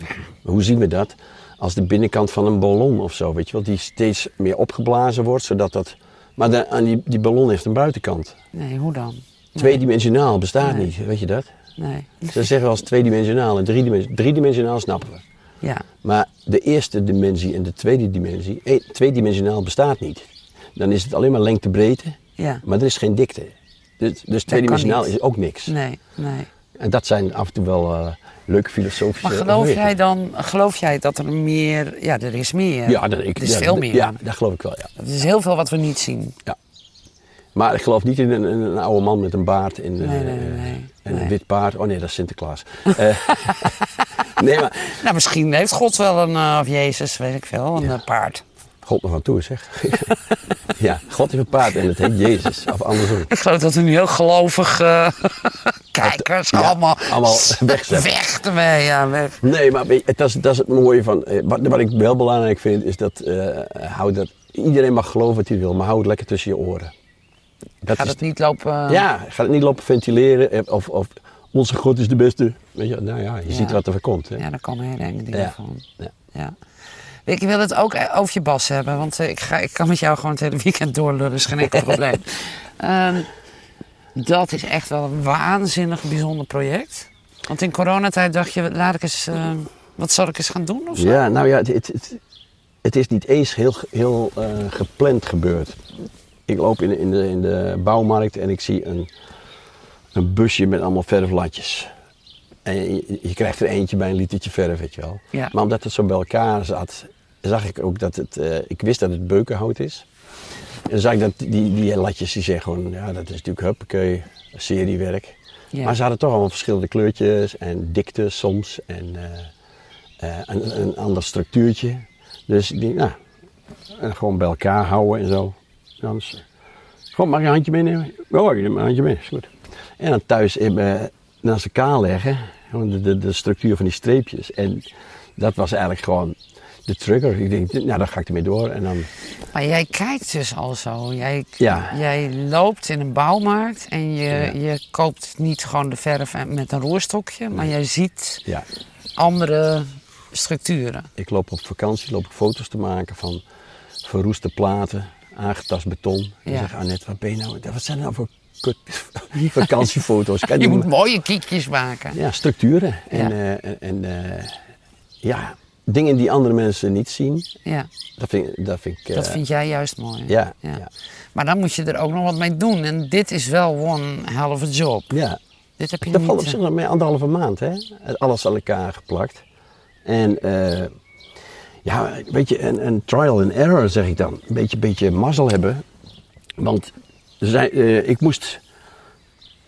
Hoe zien we dat? Als de binnenkant van een ballon of zo, weet je wel, die steeds meer opgeblazen wordt, zodat dat. Maar de- aan die, die ballon heeft een buitenkant. Nee, hoe dan? Tweedimensionaal bestaat Nee. niet, weet je dat? Nee. Ze zeggen wel eens tweedimensionaal en driedimensionaal. Driedimensionaal snappen we. Ja. Maar de eerste dimensie en de tweede dimensie, eh, tweedimensionaal bestaat niet. Dan is het alleen maar lengte-breedte, Ja. maar er is geen dikte. Dus, dus tweedimensionaal niet. is ook niks. Nee, nee. En dat zijn af en toe wel eh, leuke filosofische Maar geloof overwegingen. jij dan, geloof jij dat er meer, ja, er is meer. Ja, dat, ik, er is ja, veel dat- meer. Ja, dat geloof ik wel, ja. Er is heel veel wat we niet zien. ja. Maar ik geloof niet in een, in een oude man met een baard en, eh, Nee, nee, nee, nee. en Nee. een wit paard. Oh nee, dat is Sinterklaas. Eh, (laughs) nee, maar Nou, misschien heeft God wel een, eh, of Jezus, weet ik veel, een Ja. eh, paard. God nog aan toe, zeg. (laughs) ja, God heeft een paard en het heet Jezus. Of andersom. Ik geloof dat er nu heel gelovige (laughs) kijkers Ja, allemaal, allemaal wegzetten. weg ermee, ja, weg. Nee, maar weet je, dat is, dat is het mooie van. eh, Wat, wat ik wel belangrijk vind, is dat, eh, hou dat. Iedereen mag geloven wat hij wil, maar hou het lekker tussen je oren. Dat Gaat is het niet lopen... eh, Ja, ga het niet lopen ventileren eh, of, of onze God is de beste. Weet je, nou ja, je ziet wat er van komt. Hè? Ja, daar komen hele enge dingen Ja. van. Ja. Ja. Ik wil het ook eh, over je bas hebben, want eh, ik, ga, ik kan met jou gewoon het hele weekend doorlullen, is geen (laughs) enkel probleem. Ehm, dat is echt wel een waanzinnig bijzonder project. Want in coronatijd dacht je, laat ik eens, ehm, wat zal ik eens gaan doen of zo? Ja, nou ja, het, het, het, het is niet eens heel, heel eh, gepland gebeurd. Ik loop in, de- in, de, in de bouwmarkt en ik zie een, een busje met allemaal verflatjes. En je, je krijgt er eentje bij een litertje verf, weet je wel. Ja. Maar omdat het zo bij elkaar zat, zag ik ook dat het... eh, ik wist dat het beukenhout is. En dan zag ik dat die, die latjes, die zeggen gewoon... Ja, dat is natuurlijk huppakee, seriewerk. Ja. Maar ze hadden toch allemaal verschillende kleurtjes en dikte soms. En... eh, eh, een, een ander structuurtje. Dus ik denk, nou, en gewoon bij elkaar houden en zo. Dan is, gewoon, mag ik een handje meenemen? Oh, ik neem een handje mee, is goed. En dan thuis in, eh, naast elkaar leggen, gewoon de, de, de structuur van die streepjes. En dat was eigenlijk gewoon de trigger. Ik denk, nou, daar ga ik ermee door. En dan, Maar jij kijkt dus al zo. Jij, Ja. jij loopt in een bouwmarkt en je, Ja. je koopt niet gewoon de verf en- met een roerstokje, maar jij ziet ja, andere structuren. ik loop op vakantie, loop ik foto's te maken van verroeste platen, aangetast beton. En dan Ja. zeg ik, Annette, wat ben je nou, wat zijn nou voor (laughs) kut vakantiefoto's? Kan Je die- moet mooie kiekjes maken. Ja, structuren. En, Ja. eh, en, en, eh, ja, dingen die andere mensen niet zien. Ja, Dat vind, ik- dat vind ik. eh, dat vind jij juist mooi. Ja, ja. Maar dan moet je er ook nog wat mee doen. En dit is wel one hell of a job. ja. Dit heb je Dat niet. valt op eh, zich nog mee anderhalve maand, hè? Alles aan elkaar geplakt. En eh, Ja, weet je, en, en trial and error zeg ik dan. Een beetje, beetje mazzel hebben. Want er zijn, eh, ik moest...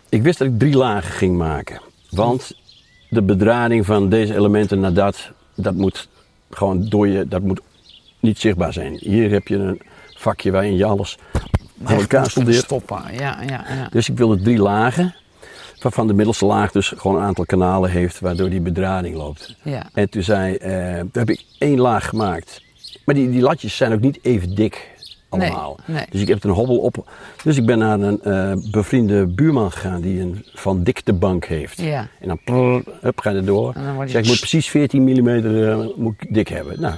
Ik wist dat ik drie lagen ging maken. Want de bedrading van deze elementen naar dat... Dat moet gewoon door je... Dat moet niet zichtbaar zijn. Hier heb je een vakje waarin je alles aan elkaar soldeert. stoppen. Ja, ja, ja. Dus ik wilde drie lagen, waarvan de middelste laag dus gewoon een aantal kanalen heeft waardoor die bedrading loopt. Ja. En toen zei, eh, toen heb ik één laag gemaakt. Maar die, die latjes zijn ook niet even dik allemaal. Nee, nee. Dus ik heb er een hobbel op. Dus ik ben naar een eh, bevriende buurman gegaan die een van dikte bank heeft. (laughs) Ja. En dan prrr, hup, ga je erdoor. En dan wordt die- zeg, ik moet precies 14 mm moet ik dik hebben. Nou,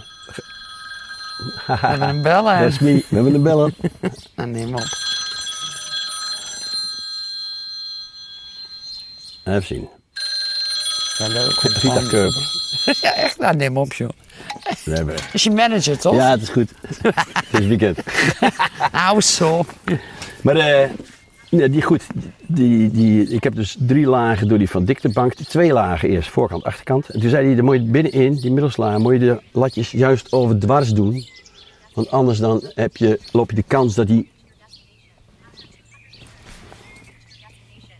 We hebben een bellen. dat is me. We hebben de bellen. Nou, neem op. Even zien. Ja, leuk. Rita Keuper. Ja, echt. Nou, neem op, joh. We hebben. Dat is je manager, toch? Ja, het is goed. het is weekend. Nou, zo. Maar eh, nee, die goed. Die, die, ik heb dus drie lagen door die van dikte bank. Twee lagen eerst, voorkant, achterkant. En toen zei hij, dan moet je binnenin, die middelslaag, moet je de latjes juist over dwars doen. Want anders dan heb je, loop je de kans dat (laughs) die...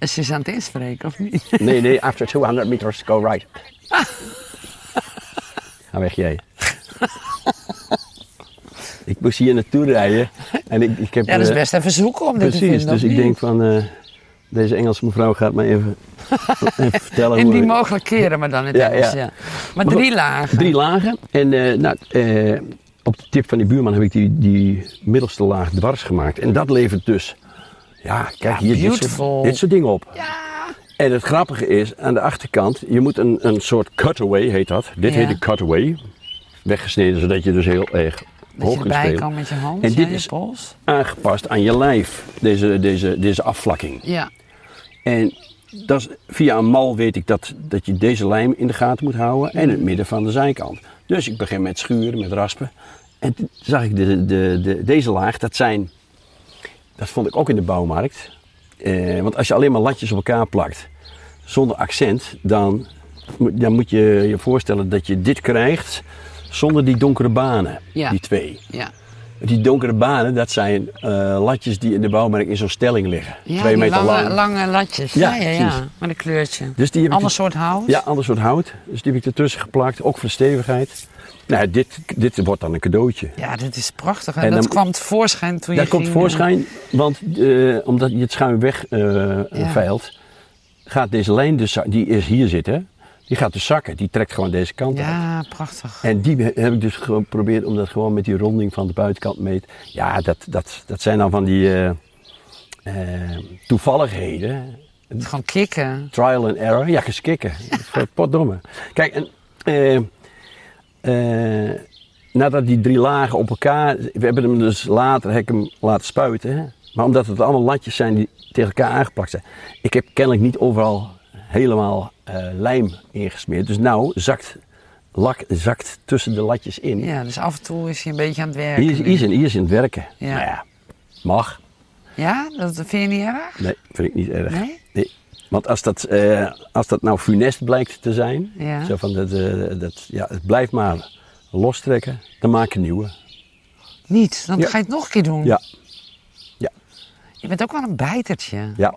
Ze is aan het inspreken, of niet? Nee, nee, after 200 meters, go right. Ga weg (laughs) jij. ik moest hier naartoe rijden. En ik, ik heb... Ja, dat is eh, best even zoeken om dit te Precies, vinden. dus of ik niet? denk van eh, deze Engelse mevrouw gaat mij (laughs) even, even vertellen In hoe die ik- mogelijke keren, maar dan in het Ja, Engels, ja. ja. Maar drie lagen. Drie lagen. En eh, nou, eh, op de tip van die buurman heb ik die, die middelste laag dwars gemaakt. En dat levert dus, ja, kijk hier, dit beautiful. soort, dit soort dingen op. En het grappige is, aan de achterkant, je moet een, een soort cutaway, heet dat. Dit Ja. heet een cutaway. Weggesneden, zodat je dus heel erg Dat hoog je kunt erbij spelen. kan met je hand, En ja, dit je is- pols. Aangepast aan je lijf, deze, deze, deze afvlakking. Ja, En dat is, via een mal weet ik dat, dat je deze lijm in de gaten moet houden en Mm. het midden van de zijkant. Dus ik begin met schuren, met raspen. En toen zag ik de, de, de, deze laag, dat zijn, dat vond ik ook in de bouwmarkt. Eh, want als je alleen maar latjes op elkaar plakt, zonder accent, dan, moet- dan moet je je voorstellen dat je dit krijgt zonder die donkere banen, Ja. die twee. ja. Die donkere banen, dat zijn eh, latjes die in de bouwmarkt in zo'n stelling liggen. Ja, twee die meter lange, lang. lange latjes. Ja, Ja, ja, ja. precies. Met een kleurtje. Dus die heb ik Ander dus- soort hout. Ja, ander soort hout. Dus die heb ik ertussen geplakt, ook voor de stevigheid. Nou, dit, dit wordt dan een cadeautje. Ja, dit is prachtig. En, En dat dan- kwam tevoorschijn toen Dat je komt ging, eh, voorschijn, want eh, omdat je het schuin weg eh veilt, gaat deze lijn, dus, za- die is hier zitten, die gaat dus zakken. Die trekt gewoon deze eh, kant uit. Ja, prachtig. En die he- heb ik dus geprobeerd om dat gewoon met die ronding van de buitenkant meet. Ja, dat, dat, dat zijn dan van die eh, eh, toevalligheden. Gewoon kikken. Trial and error. Ja, geskikken. (laughs) Potdomme. Kijk, en, eh, eh, nadat die drie lagen op elkaar... We hebben hem dus later heb ik hem laten spuiten. Hè? Maar omdat het allemaal latjes zijn die tegen elkaar aangeplakt zijn. Ik heb kennelijk niet overal helemaal eh, lijm ingesmeerd. Dus nou zakt lak zakt tussen de latjes in. Ja, dus af en toe is hij een beetje aan het werken. Hier, is, hier, zijn, hier is in het werken. Ja. Nou ja, mag. Ja, dat vind je niet erg? Nee, vind ik niet erg. Nee? Want als dat, eh, als dat nou funest blijkt te zijn, Ja. zo van dat, eh, dat, ja, het blijft maar lostrekken, dan maak je nieuwe. Niet. Dan Ja. ga je het nog een keer doen. Ja, Je bent ook wel een bijtertje. ja.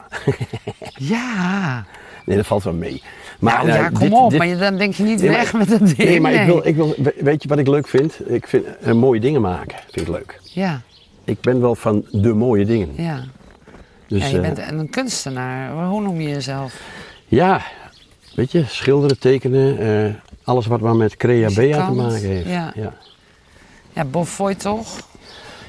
(laughs) Ja. nee, dat valt wel mee. Maar, nou, eh, ja, kom dit- op. dit- maar je- dan denk je niet Nee, maar- weg met dat ding. Nee, maar ik wil, ik wil, we- weet je wat ik leuk vind? Ik vind eh, mooie dingen maken, vind ik leuk. Ja, Ik ben wel van de mooie dingen. ja. Dus, ja, je eh, bent een kunstenaar. Hoe noem je jezelf? ja, weet je, schilderen, tekenen, eh, alles wat maar met crea bea te Muzikant, maken heeft. ja. ja. Ja, Bob Foy toch?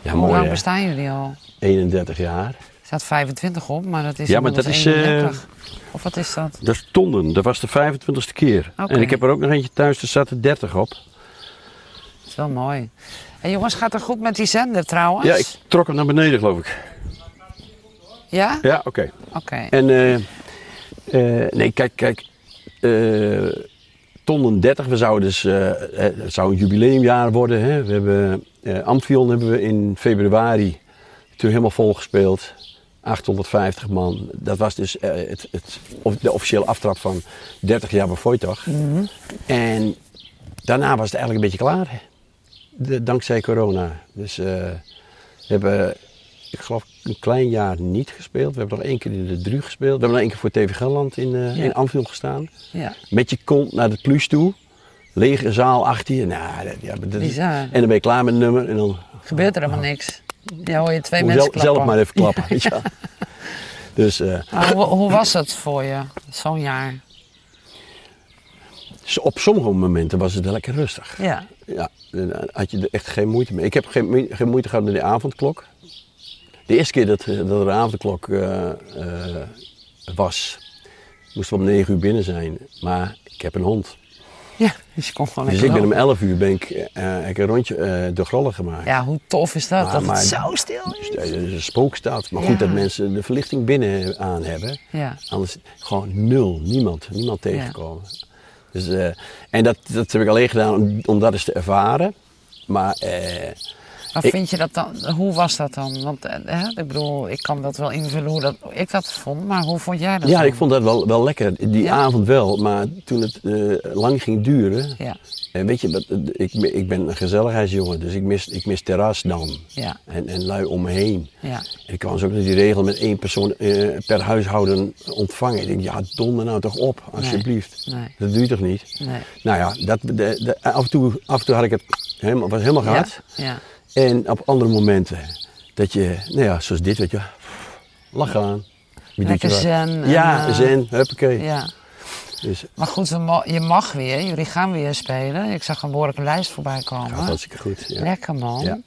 Ja, Hoe mooi lang hè? bestaan jullie al? 31 jaar. Er staat 25 op, maar dat is Ja, maar dat inmiddels is, eh, 31. Of wat is dat? Dat is tonnen. Dat was de 25ste keer. Oké. En ik heb er ook nog eentje thuis, er zat er 30 op. Dat is wel mooi. En jongens, gaat het goed met die zender trouwens? Ja, ik trok hem naar beneden, geloof ik. Ja? Ja, oké. Oké. En, eh, eh, nee, kijk, kijk. eh, tonnen 30, we zouden dus, eh, eh, het zou een jubileumjaar worden. Hè? We hebben, eh Amphion hebben we in februari toen helemaal vol gespeeld. 850 man. Dat was dus eh, het, het, of de officiële aftrap van 30 jaar bij Voigtdag. En daarna was het eigenlijk een beetje klaar. de- dankzij corona. Dus eh, we hebben, ik geloof, een klein jaar niet gespeeld. We hebben nog één keer in de Dru gespeeld. We hebben nog één keer voor TV Gelderland in, eh Ja. in Anfield gestaan. Ja. Met je kont naar de plus toe. Lege zaal achter je. Nou, dat, ja, dat- Bizar. En dan ben je klaar met het nummer. En dan Gebeurt er helemaal niks. Ja, hoor je twee moet je mensen klappen. zelf, zelf maar even (laughs) klappen. weet je wel. Dus eh, Maar hoe, hoe was dat voor je, zo'n jaar? s- dus op sommige momenten was het wel lekker rustig. Ja. (laughs) Ja, dan had je er echt geen moeite mee. Ik heb geen, moe- geen moeite gehad met de avondklok. De eerste keer dat, eh, dat er een avondklok eh, eh, was, moesten we om 9 uur binnen zijn. Maar ik heb een hond. Ja, dus je kon gewoon Dus lekker ik ben om lopen. 11 uur ben ik, eh, heb ik een rondje eh de grollen gemaakt. Ja, hoe tof is dat? Maar- dat Ah, maar- het zo stil is. Dus, eh, dat is een spookstad. Maar Ja. goed dat mensen de verlichting binnen aan hebben. Ja. Anders gewoon nul, niemand, niemand tegenkomen. Dus, eh, en dat, dat heb ik alleen gedaan om, om dat eens te ervaren. Maar eh, Maar Ik- vind je dat dan, hoe was dat dan? Want eh, hè, ik bedoel, ik kan dat wel invullen hoe dat, ik dat vond, maar hoe vond jij dat Ja, dan? ik vond dat wel, wel lekker. Die Ja? avond wel, maar toen het eh, lang ging duren. Ja, En weet je, dat, eh, ik, ik ben een gezelligheidsjongen, dus ik mis, ik mis terras dan. ja, En, en lui om me heen. ja. En ik kwam dus ook met die regel met één persoon eh, per huishouden ontvangen. Ik denk, ja, donder nou toch op, alsjeblieft. nee. Dat doe je toch niet? Nee. Nou ja, dat, de, de- af, en toe, af en toe had ik het helemaal, was helemaal Ja, gehad. ja. En op andere momenten, dat je, nou ja, zoals dit, weet je, lach aan. Wie doet je Lekker wat? zen en, Ja, eh, zen, huppakee. ja. Dus Maar goed, we mo- je mag weer. Jullie gaan weer spelen. Ik zag een behoorlijke lijst voorbij komen. gaat hartstikke goed. Ja. Lekker man. Ja.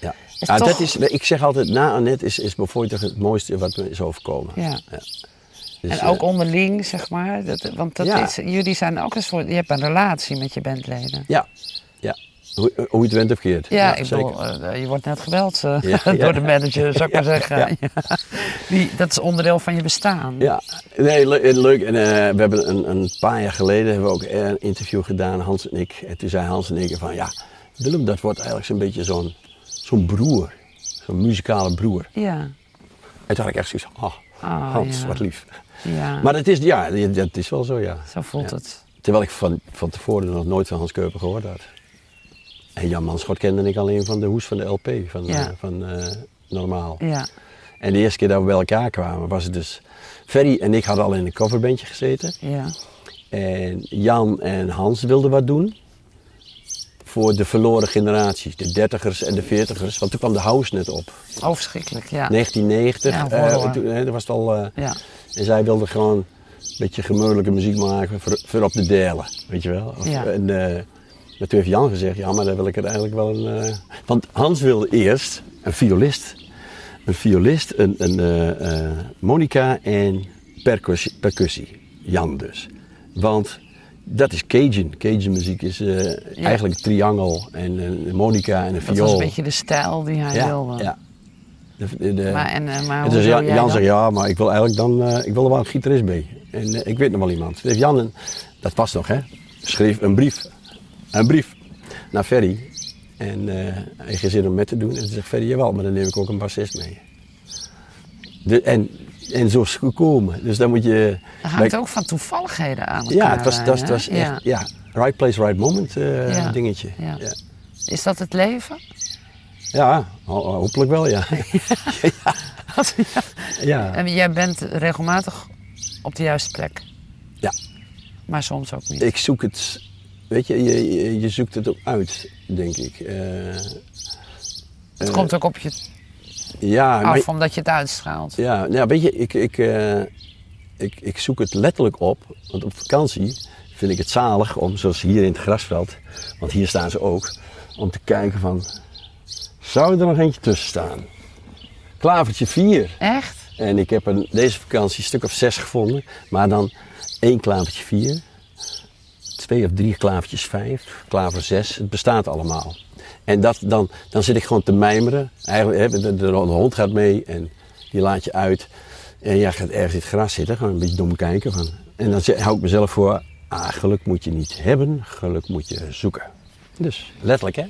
Ja. Is Ah, toch- dat is, ik zeg altijd, na Annette is, is bijvoorbeeld het mooiste wat me is overkomen. Ja. Dus, En eh, ook onderling, zeg maar. Dat, want dat Ja. is, jullie zijn ook een soort... Je hebt een relatie met je bandleden. ja, ja. Hoe, hoe je het went of keert. Ja, ik bedoel, eh, je wordt net geweld eh, Ja, ja. (laughs) door de manager, zou ik maar zeggen. ja. (laughs) Ja. Die, dat is onderdeel van je bestaan. Ja, nee, le- eh, leuk. En, eh, we hebben een, een paar jaar geleden hebben we ook eh, een interview gedaan, Hans en ik. En toen zei Hans en ik van, ja, Willem, dat wordt eigenlijk zo'n beetje zo'n zo'n broer. Zo'n muzikale broer. Ja. En toen had ik echt zoiets van, oh, Ah, Hans, ja. wat lief. ja. Maar het is, ja, dat is wel zo, ja. Zo voelt Ja. het. Terwijl ik van, van tevoren nog nooit van Hans Keuper gehoord had. En Jan Manschot kende ik alleen van de hoes van de LP, van, Ja. eh, van eh, Normaal. Ja. En de eerste keer dat we bij elkaar kwamen was het dus... Ferry en ik hadden al in een coverbandje gezeten. Ja. En Jan en Hans wilden wat doen. Voor de verloren generatie, de dertigers en de veertigers. Want toen kwam de house net op. Oh, verschrikkelijk. Ja. 1990, Ja, eh, horror. toen, hè, dat was het al... eh, Ja. en zij wilde gewoon een beetje gemoedelijke muziek maken voor, voor op de delen, weet je wel. Of- Ja. En eh, maar toen heeft Jan gezegd, ja, maar dan wil ik er eigenlijk wel een... eh, Want Hans wilde eerst een violist, een violist, een, een eh, eh, monica en percussie, percussie. Jan dus. Want dat is Cajun. Cajun muziek is eh, eigenlijk een triangel en een monica en een Dat viool. was een beetje de stijl die hij ja, wilde. ja. De- de- de- Maar, en, eh, maar en hoe dus wil Jan, jij Jan dat? zegt, ja, maar ik wil eigenlijk dan, eh, ik wil er wel een gitarist bij. En eh, ik weet nog wel iemand. Dus heeft Jan, een, dat was nog hè, schreef een brief, een brief naar Ferry. En eh, hij heeft geen zin om met te doen. En toen zegt Ferry, jawel, maar dan neem ik ook een bassist mee. De, en, en zo is het gekomen. Dus dan moet je... Het hangt ook van toevalligheden aan elkaar. ja, het was, dat hè? was echt, ja. Ja. right place, right moment eh, Ja. dingetje. Ja. Ja. Is dat het leven? (laughs) Ja, ho- hopelijk wel, ja. (laughs) ja. En jij bent regelmatig op de juiste plek, ja. maar soms ook niet. Ik zoek het, weet je, je, je- je zoekt het ook uit, denk ik. Eh, het komt ook op je ja, eh, maar, af omdat je het uitstraalt. ja, nou ja, weet je, ik, ik, eh, ik, ik zoek het letterlijk op. Want op vakantie vind ik het zalig om, zoals hier in het grasveld, want hier staan ze ook, om te kijken van, zou er nog eentje tussen staan? Klavertje 4. Echt? En ik heb een, deze vakantie een stuk of zes gevonden. Maar dan één klavertje vier. Twee of drie klavertjes vijf. Klaver zes. Het bestaat allemaal. En dat, dan, dan zit ik gewoon te mijmeren. Eigenlijk, hè, de, de, de hond gaat mee en die laat je uit. En jij gaat ergens in het gras zitten. Gewoon een beetje dom kijken. Van. En dan zeg- hou ik mezelf voor. Ah, geluk moet je niet hebben. Geluk moet je zoeken. Dus letterlijk hè.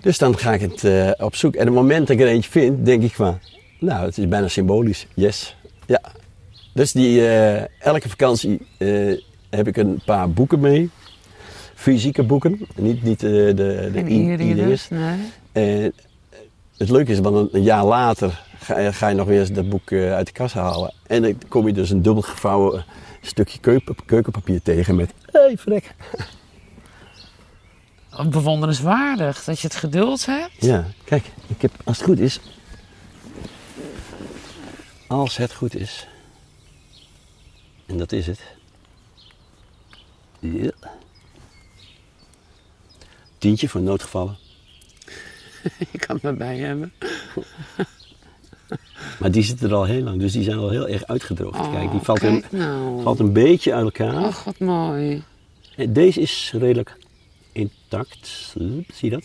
Dus dan ga ik het eh, op zoek. En op het moment dat ik er eentje vind, denk ik van, nou, het is bijna symbolisch. Yes. Ja. Dus die, eh, elke vakantie eh, heb ik een paar boeken mee. fysieke boeken, niet, niet eh, de, de, En i- e-readers. e-dinges. Nee. En het leuke is, want een- een jaar later ga, je- ga je nog weer eens dat boek eh, uit de kast halen. En dan kom je dus een dubbel gevouwen stukje keuken- keukenpapier tegen met... Hé, hey, vrek. Bewonderenswaardig dat je het geduld hebt. (laughs) Ja, kijk, ik heb, als het goed is... Als het goed is... En dat is het. Ja. Tientje voor noodgevallen. Je kan het maar bij hebben. Maar die zitten er al heel lang, dus die zijn al heel erg uitgedroogd. kijk, die Oh, valt, kijk Een, nou. valt een beetje uit elkaar. Ach, wat mooi. En Deze is redelijk intact. Zie je dat?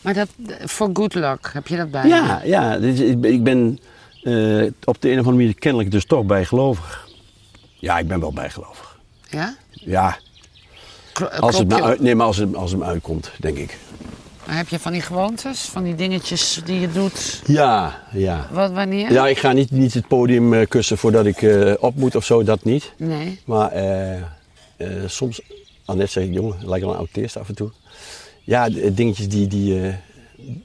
Maar dat, eh, voor good luck heb je dat bij je? Ja, ja. dus ik ben- ik ben eh, op de een of andere manier kennelijk dus toch bijgelovig. Ja, ik ben wel bijgelovig. Ja? Ja, Kro- eh, als klop het nou- me je- uit, nee, maar als het, als het me uitkomt, denk ik. Maar heb je van die gewoontes, van die dingetjes die je doet? Ja, ja. Wat, wanneer? Ja, ik ga niet, niet het podium eh, kussen voordat ik eh, op moet of zo, dat niet. Nee. Maar eh, eh, soms, al net zeg ik, jongen, het lijkt wel een autist af en toe. Ja, de- dingetjes die, die, eh,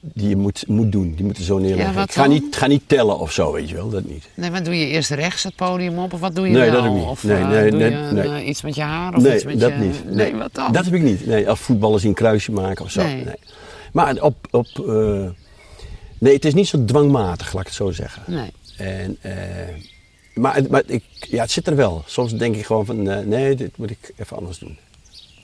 die je moet, moet doen, die moeten zo neerleggen. wat ik ga dan? niet, ga niet tellen of zo, weet je wel, dat niet. Nee, maar doe je eerst rechts het podium op of wat doe je Nee, wel? dat doe ik niet. Of Nee, eh, nee, doe nee, je een, nee. eh, iets met je haar of iets nee, met dat je... niet. Nee, wat dan? Dat heb ik niet. Nee, als voetballers een kruisje maken of zo. Nee. Nee. Maar op, op eh, nee, het is niet zo dwangmatig, laat ik het zo zeggen. Nee. En, eh, maar het- maar ik, ja, het zit er wel. Soms denk ik gewoon van, eh, nee, dit moet ik even anders doen.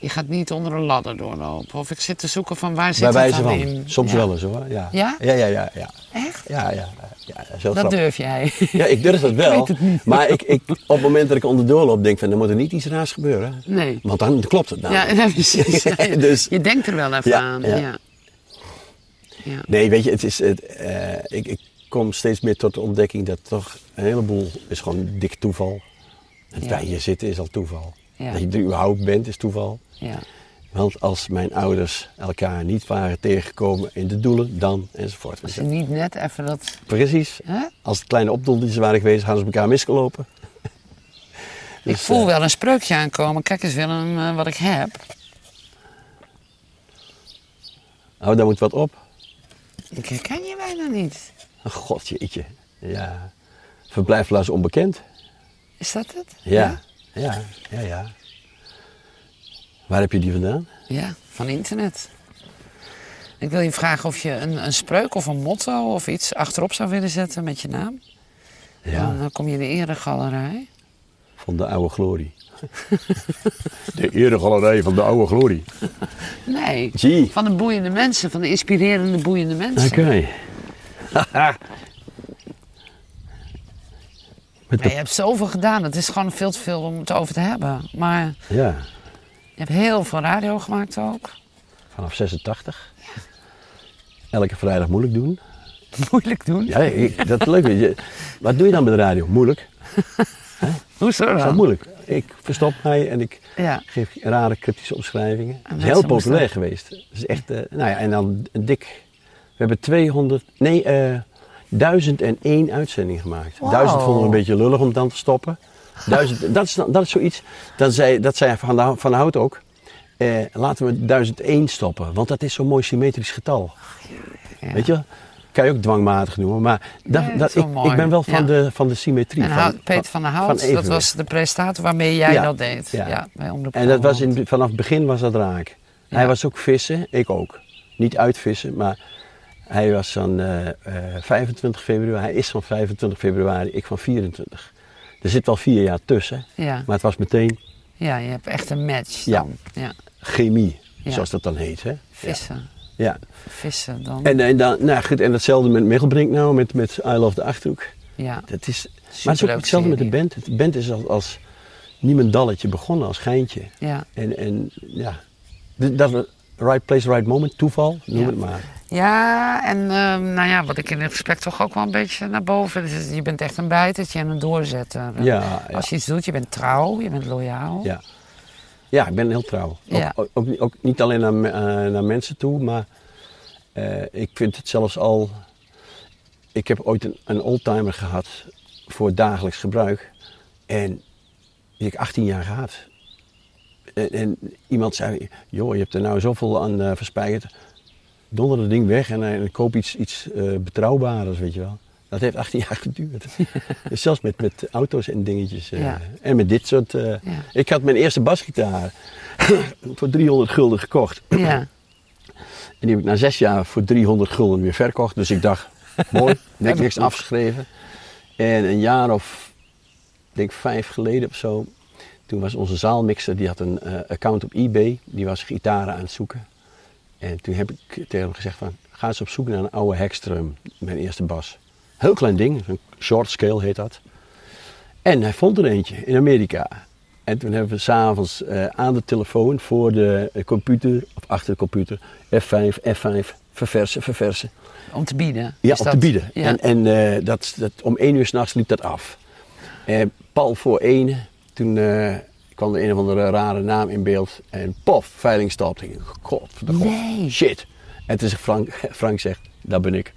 Je gaat niet onder een ladder doorlopen. Of ik zit te zoeken van waar zit Bij het wijze dan van. in? Soms Ja. wel eens hoor. Ja? Ja? Ja, ja, ja. ja. Echt? Ja, ja, ja, dat is heel Dat grappig. durf (laughs) jij. Ja, ik durf dat wel. Ik weet het niet. Maar ik, ik, op het moment dat ik onderdoor loop, denk ik van, dan moet er niet iets raars gebeuren. Nee. Want dan klopt het Ja, namelijk. ja, (laughs) (laughs) precies. Ja, je- Dus- je denkt er wel even Ja, aan. Ja. ja. Ja. Ja. Nee, weet je, het is, het, eh, ik, ik kom steeds meer tot de ontdekking dat toch een heleboel is gewoon dik toeval. Het Ja. wij hier zitten is al toeval. Ja. Dat je er überhaupt bent is toeval. Want als mijn ouders elkaar niet waren tegengekomen in de doelen, dan enzovoort. Als je niet net even dat... Precies. Hè? Als het kleine opdoeltjes waren geweest, hadden ze elkaar misgelopen. Ik eh, voel wel een spreukje aankomen. Kijk eens Willem, eh, wat ik heb. Oh, daar moet wat op. Ik herken je bijna niet. Oh, God, jeetje. Ja. Verblijfplaats onbekend. Is dat het? Ja. ja. Ja, ja, Waar heb je die vandaan? Ja, van internet. Ik wil je vragen of je een, een spreuk of een motto of iets achterop zou willen zetten met je naam. Dan Ja, eh, kom je in de eregalerij. van de oude glorie. (laughs) de eregalerij van de oude glorie. Nee, Gee. van de boeiende mensen, van de inspirerende boeiende mensen. Oké. Nee, Met de... je hebt zoveel gedaan, het is gewoon veel te veel om het over te hebben. Maar Ja, je hebt heel veel radio gemaakt ook. (laughs) vanaf 86. Elke vrijdag moeilijk doen. Moeilijk doen. Ja, ik- dat is leuk. weet je. Wat doe je dan met de radio? Moeilijk. Hoezo Dat is dan? wel moeilijk. Ik verstop mij en ik Ja. geef rare cryptische omschrijvingen. Het is mensen heel populair moesten- geweest. Het is echt, eh, nou ja, en dan dik. We hebben 200, nee, eh 1001 uitzendingen gemaakt. Wauw. 1000 vonden we een beetje lullig om dan te (laughs) stoppen. 1000, dat, is, dan- dat is zoiets, dan zei, dat zei Van, de Hou- van de Hout ook. eh, laten we 1001 stoppen, want dat is zo'n mooi symmetrisch getal. Ja. Weet je wel? Kan je ook dwangmatig noemen, maar dat, Nee, dat dat, is wel ik, mooi. ik ben wel van, Ja. de, van de symmetrie. En van- Hout- Peter van der Hout, dat evenwicht. was de presentator waarmee jij Ja, dat deed. Ja. ja. bij Omroep En dat was Brabant. in, vanaf het begin was dat raak. Hij Ja. was ook vissen, ik ook. Niet uitvissen, maar hij was van eh, eh, 25 februari. Hij is van 25 februari, ik van 24. Er zit wel vier jaar tussen, Ja. maar het was meteen ja, je hebt echt een match Ja. dan. Ja. chemie, Ja. zoals dat dan heet. Hè? Vissen. Ja. Vissen dan. En, en, dan, nou goed, en hetzelfde met Middelbrink nou, met, met I Love de Achterhoek. ja. Dat is, maar het is ook Superleuke hetzelfde met de serie. band. De band is als, als niemendalletje begonnen, als geintje. Ja. En, en ja, D- dat we- right place, right moment, toeval, noem Ja. het maar. ja, en ehm, nou ja, wat ik in het gesprek toch ook wel een beetje naar boven. Dus je bent echt een bijtertje en een doorzetter. Ja, ja, Als je iets doet, je bent trouw, je bent loyaal. ja. Ja, ik ben heel trouw. Ook, Ja. ook, ook niet- ook niet alleen naar, me- eh, naar mensen toe, maar eh, ik vind het zelfs al... Ik heb ooit een, een oldtimer gehad voor dagelijks gebruik. En die heb ik 18 jaar gehad. En, en iemand zei, joh, je hebt er nou zoveel aan eh, verspijkerd. Donder dat ding weg en, eh, en koop iets, iets eh betrouwbaars, weet je wel. Dat heeft 18 jaar (laughs) (laughs) geduurd. dus zelfs met, met auto's en dingetjes. eh, Ja. En met dit soort... eh, Ja. Ik had mijn eerste basgitaar (laughs) voor 300 gulden gekocht. Ja. En die heb ik na zes jaar voor 300 gulden weer verkocht. Dus (laughs) ik dacht, mooi, niks, niks afgeschreven. En een jaar of, ik denk vijf geleden of zo, toen was onze zaalmixer, die had een eh, account op eBay. Die was gitaren aan het zoeken. En toen heb ik tegen hem gezegd van, ga eens op zoek naar een oude Hekstrum, mijn eerste bas. Heel klein ding, een short scale heet dat. En hij vond er eentje in Amerika. En toen hebben we s'avonds eh aan de telefoon voor de eh, computer, of achter de computer, F5, F5, verversen, verversen. Om te bieden. Ja, is op dat- te bieden. Ja. En, en eh, dat, dat, om één uur s'nachts liep dat af. En pal voor één, toen eh, kwam er een of andere rare naam in beeld. En pof, veiling stopt. Ik dacht, god, de god, Nee. shit. En toen zegt Frank, Frank zegt, dat ben ik. (laughs)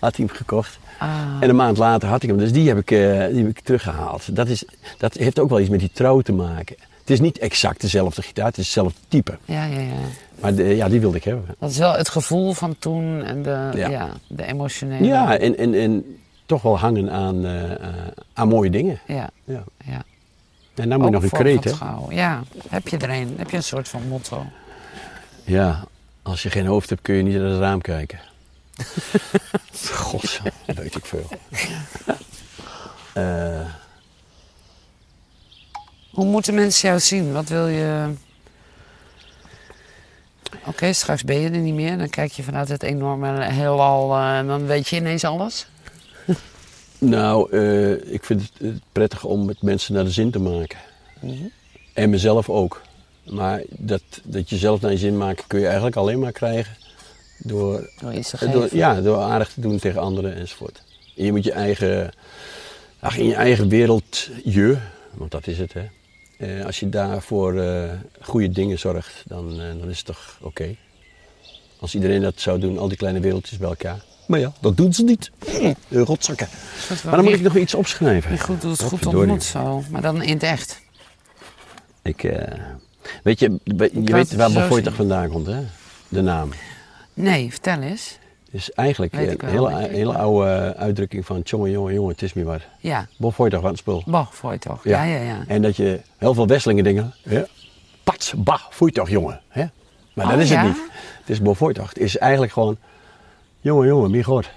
Had hij hem gekocht. Ah. En een maand later had ik hem, dus die heb ik, eh, die heb ik teruggehaald. Dat, is, dat heeft ook wel iets met die trouw te maken. Het is niet exact dezelfde gitaar, het is hetzelfde type. ja, ja, ja. Maar de- ja, die wilde ik hebben. Dat is wel het gevoel van toen en de, ja. Ja. de emotionele. Ja, en, en, en toch wel hangen aan, eh, eh, aan mooie dingen. Ja, Ja. ja. En dan moet je nog een voor kreet, Van hè? Gouw. Ja, heb je er een? Heb je een soort van motto? Ja, als je geen hoofd hebt kun je niet naar het raam (laughs) kijken. God, dat weet ik veel. (laughs) Eh, Hoe moeten mensen jou zien? Wat wil je... Oké, straks ben je er niet meer. Dan kijk je vanuit het enorme heelal eh, en dan weet je ineens alles. nou, eh, ik vind het eh, prettig om met mensen naar de zin te maken. Mhm. En mezelf ook. Maar dat, dat je zelf naar je zin maakt kun je eigenlijk alleen maar krijgen door Door iets te Eh, geven. Door, ja, door aardig te doen tegen anderen enzovoort. En je moet je eigen, ach, in je eigen wereld je, want dat is het hè. Eh, als je daarvoor eh, goede dingen zorgt, dan, eh, dan is het toch oké. Als iedereen dat zou doen, al die kleine wereldjes bij elkaar. Maar ja, dat doen ze niet. Hm, De rotzakken. Soort van Maar dan moet wie- ik nog iets opschrijven. Wie goed doet, goed Potverdorie. ontmoet zo. Maar dan in het echt. Ik, eh, weet je, je het weet waar zo Bevoortag zien. vandaan komt hè? De naam. Nee, vertel eens. is eigenlijk Weet ik een wel, hele, denk ik. hele oude uitdrukking van jongen, jongen, jongen, het is niet waar. Ja, Bob Voigt van het spul. bah, voor je toch? Ja, ja, ja. En dat je heel veel Wesselingen dingen. Ja. Pats, bah, Voigt jongen. Hè? Maar Oh, dat is ja? het niet. Het is Bob Voigt. Het is eigenlijk gewoon, jongen, jongen, wie god.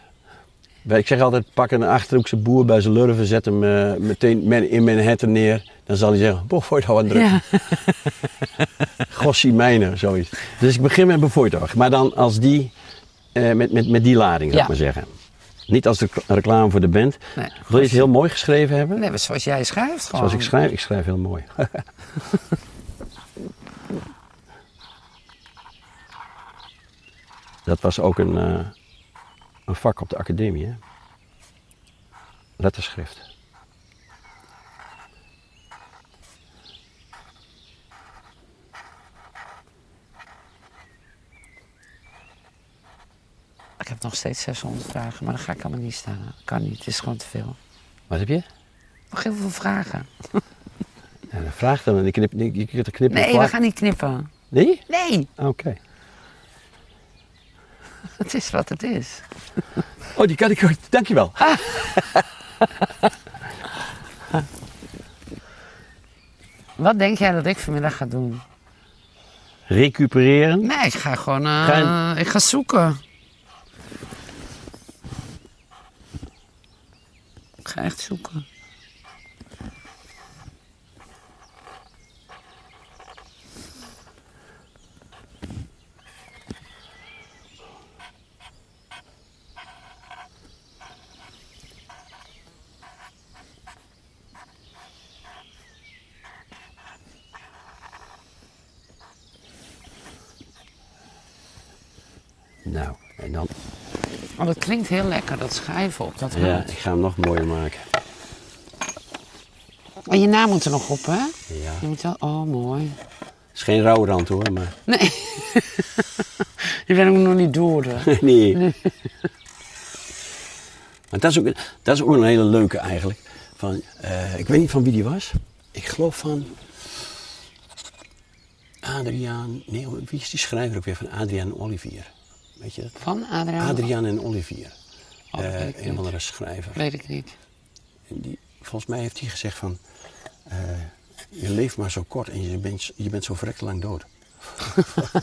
Ik zeg altijd, pak een Achterhoekse boer bij zijn lurven, zet hem eh, meteen men- in Manhattan neer. Dan zal hij zeggen, Bob Voigt wat druk. Ja, Gossie Mijnen, zoiets. Dus ik begin met bevoortocht. Maar dan als die, eh, met, met, met die lading, zou Ja. ik maar zeggen. Niet als de rec- reclame voor de band. Nee, Wil je het heel mooi geschreven hebben? nee, maar zoals jij schrijft gewoon. Zoals ik schrijf, ik schrijf heel mooi. (laughs) Dat was ook een, eh, een vak op de academie, hè? Letterschrift. Ik heb nog steeds 600 vragen, maar dan ga ik allemaal niet staan. Kan niet, het is gewoon te veel. Wat heb je? Nog heel veel vragen. Ja, dan vraag dan, en je, knip, je kunt er knippen. Nee, we plakken. gaan niet knippen. Nee? Nee, Oké. het is wat het is. Oh, die kan ik goed. Dankjewel. Wat denk jij dat ik vanmiddag ga doen? Recupereren. Nee, ik ga gewoon... eh, Ga je- Ik ga zoeken. Ik ga echt zoeken. Nou, en dan. Want het Oh, klinkt heel lekker, dat schrijven op dat Ja, hout. ik ga hem nog mooier maken. En je naam moet er nog op, hè? Ja. Je moet wel... Oh, mooi. Het is geen rouwrand hoor, maar. (laughs) Nee. je bent ook nog niet door. hè? (laughs) nee. Maar dat is, ook, dat is ook een hele leuke eigenlijk. Van, eh, ik weet niet van wie die was. Ik geloof van Adriaan, nee hoor, wie is die schrijver ook weer van Adriaan en Olivier? Weet je dat? Van Adriaan? Adriaan en Olivier. Oh, dat weet ik Eh een of niet. andere schrijver. Weet ik niet. Nou, En die, volgens mij heeft hij gezegd van, eh, je leeft maar zo kort en je bent, je bent zo verrekt lang dood.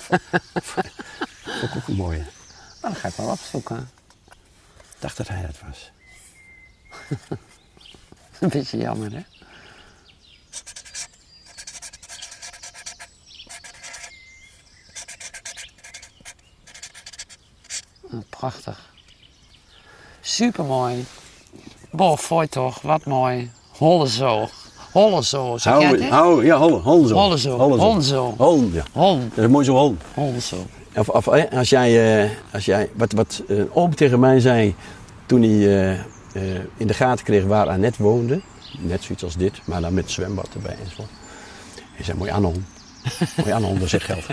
(laughs) ook, ook een mooie. Nou, dat ga ik wel opzoeken. Ik dacht dat hij dat was. (laughs) Een beetje jammer, hè? Oh, prachtig. Supermooi. Boah, fooi toch, wat mooi. Hollezo. Hollezo, zeg jij het? Hou, hè? hou, ja, hol, holzo. Hollenzo. Hollenzo. Hol, ja. Hol, Dat is mooi zo hol. hollezo. Of, of, eh, als jij, eh, als jij wat, wat eh, een oom tegen mij zei toen hij eh, eh, in de gaten kreeg waar Annette woonde. Net zoiets als dit, maar dan met zwembad erbij en zo. Hij zei, mooi Anon. mooi Anon, dat zegt geld.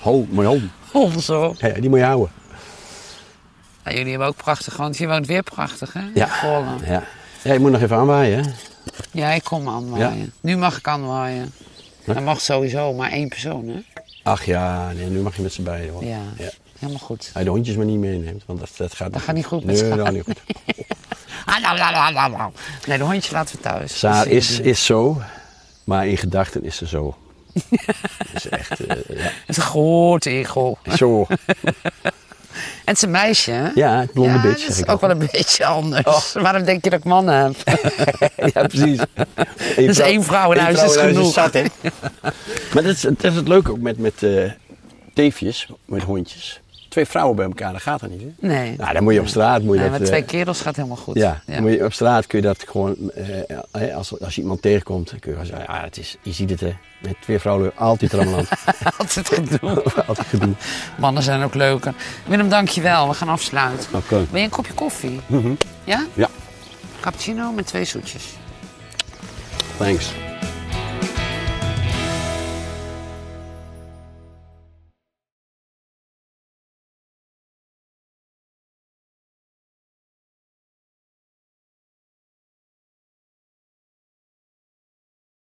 Hol, mooi hol. Hollezo. Ja, die moet je houden. Nou, jullie hebben ook prachtig, want je woont weer prachtig, hè? Ja. Zwolle. Ja. ja, je moet nog even aanwaaien. Hè? Ja, ik kom aanwaaien. Nu mag ik aanwaaien. Ja. Dat mag sowieso, maar één persoon, hè? Ach ja, nee, nu mag je met z'n beiden hoor. Ja, helemaal goed. Als je de hondjes maar niet meeneemt, want dat, dat gaat, gaat niet goed met Nee, Saar. dat gaat niet goed. Ah, la, la, la, la, la. Nee, de hondje laten we thuis. Saar Dat is, het niet. is zo, maar in gedachten is ze zo. Dat is echt eh, ja, Het gehoord egel. zo. En het is een meisje, hè? Ja, het blonde Ja, bitch. dat zeg is ik Oh. ook wel een beetje anders. Waarom denk je dat ik mannen heb? altijd. (laughs) Ja, precies. Eén Dus één vrouw in huis is genoeg. zat, hè? maar dat is, dat is het leuke ook met, met eh, teefjes, met hondjes. Twee vrouwen bij elkaar, dat gaat dat niet. Hè? Nee. Nou, dan moet je op straat. Moet je nee, dat, maar twee eh, kerels gaat helemaal goed. Ja, ja. dan Moet je, op straat kun je dat gewoon, eh, eh, als, als je iemand tegenkomt, dan kun je gewoon zeggen, ah, het is, je ziet het hè, met twee vrouwen altijd trammeland, (laughs) Altijd gedoe. (laughs) altijd gedoe. Mannen zijn ook leuker. Willem, dankjewel. We gaan afsluiten. Oké. Wil je een kopje koffie? Ja? Ja, Cappuccino met twee zoetjes. thanks.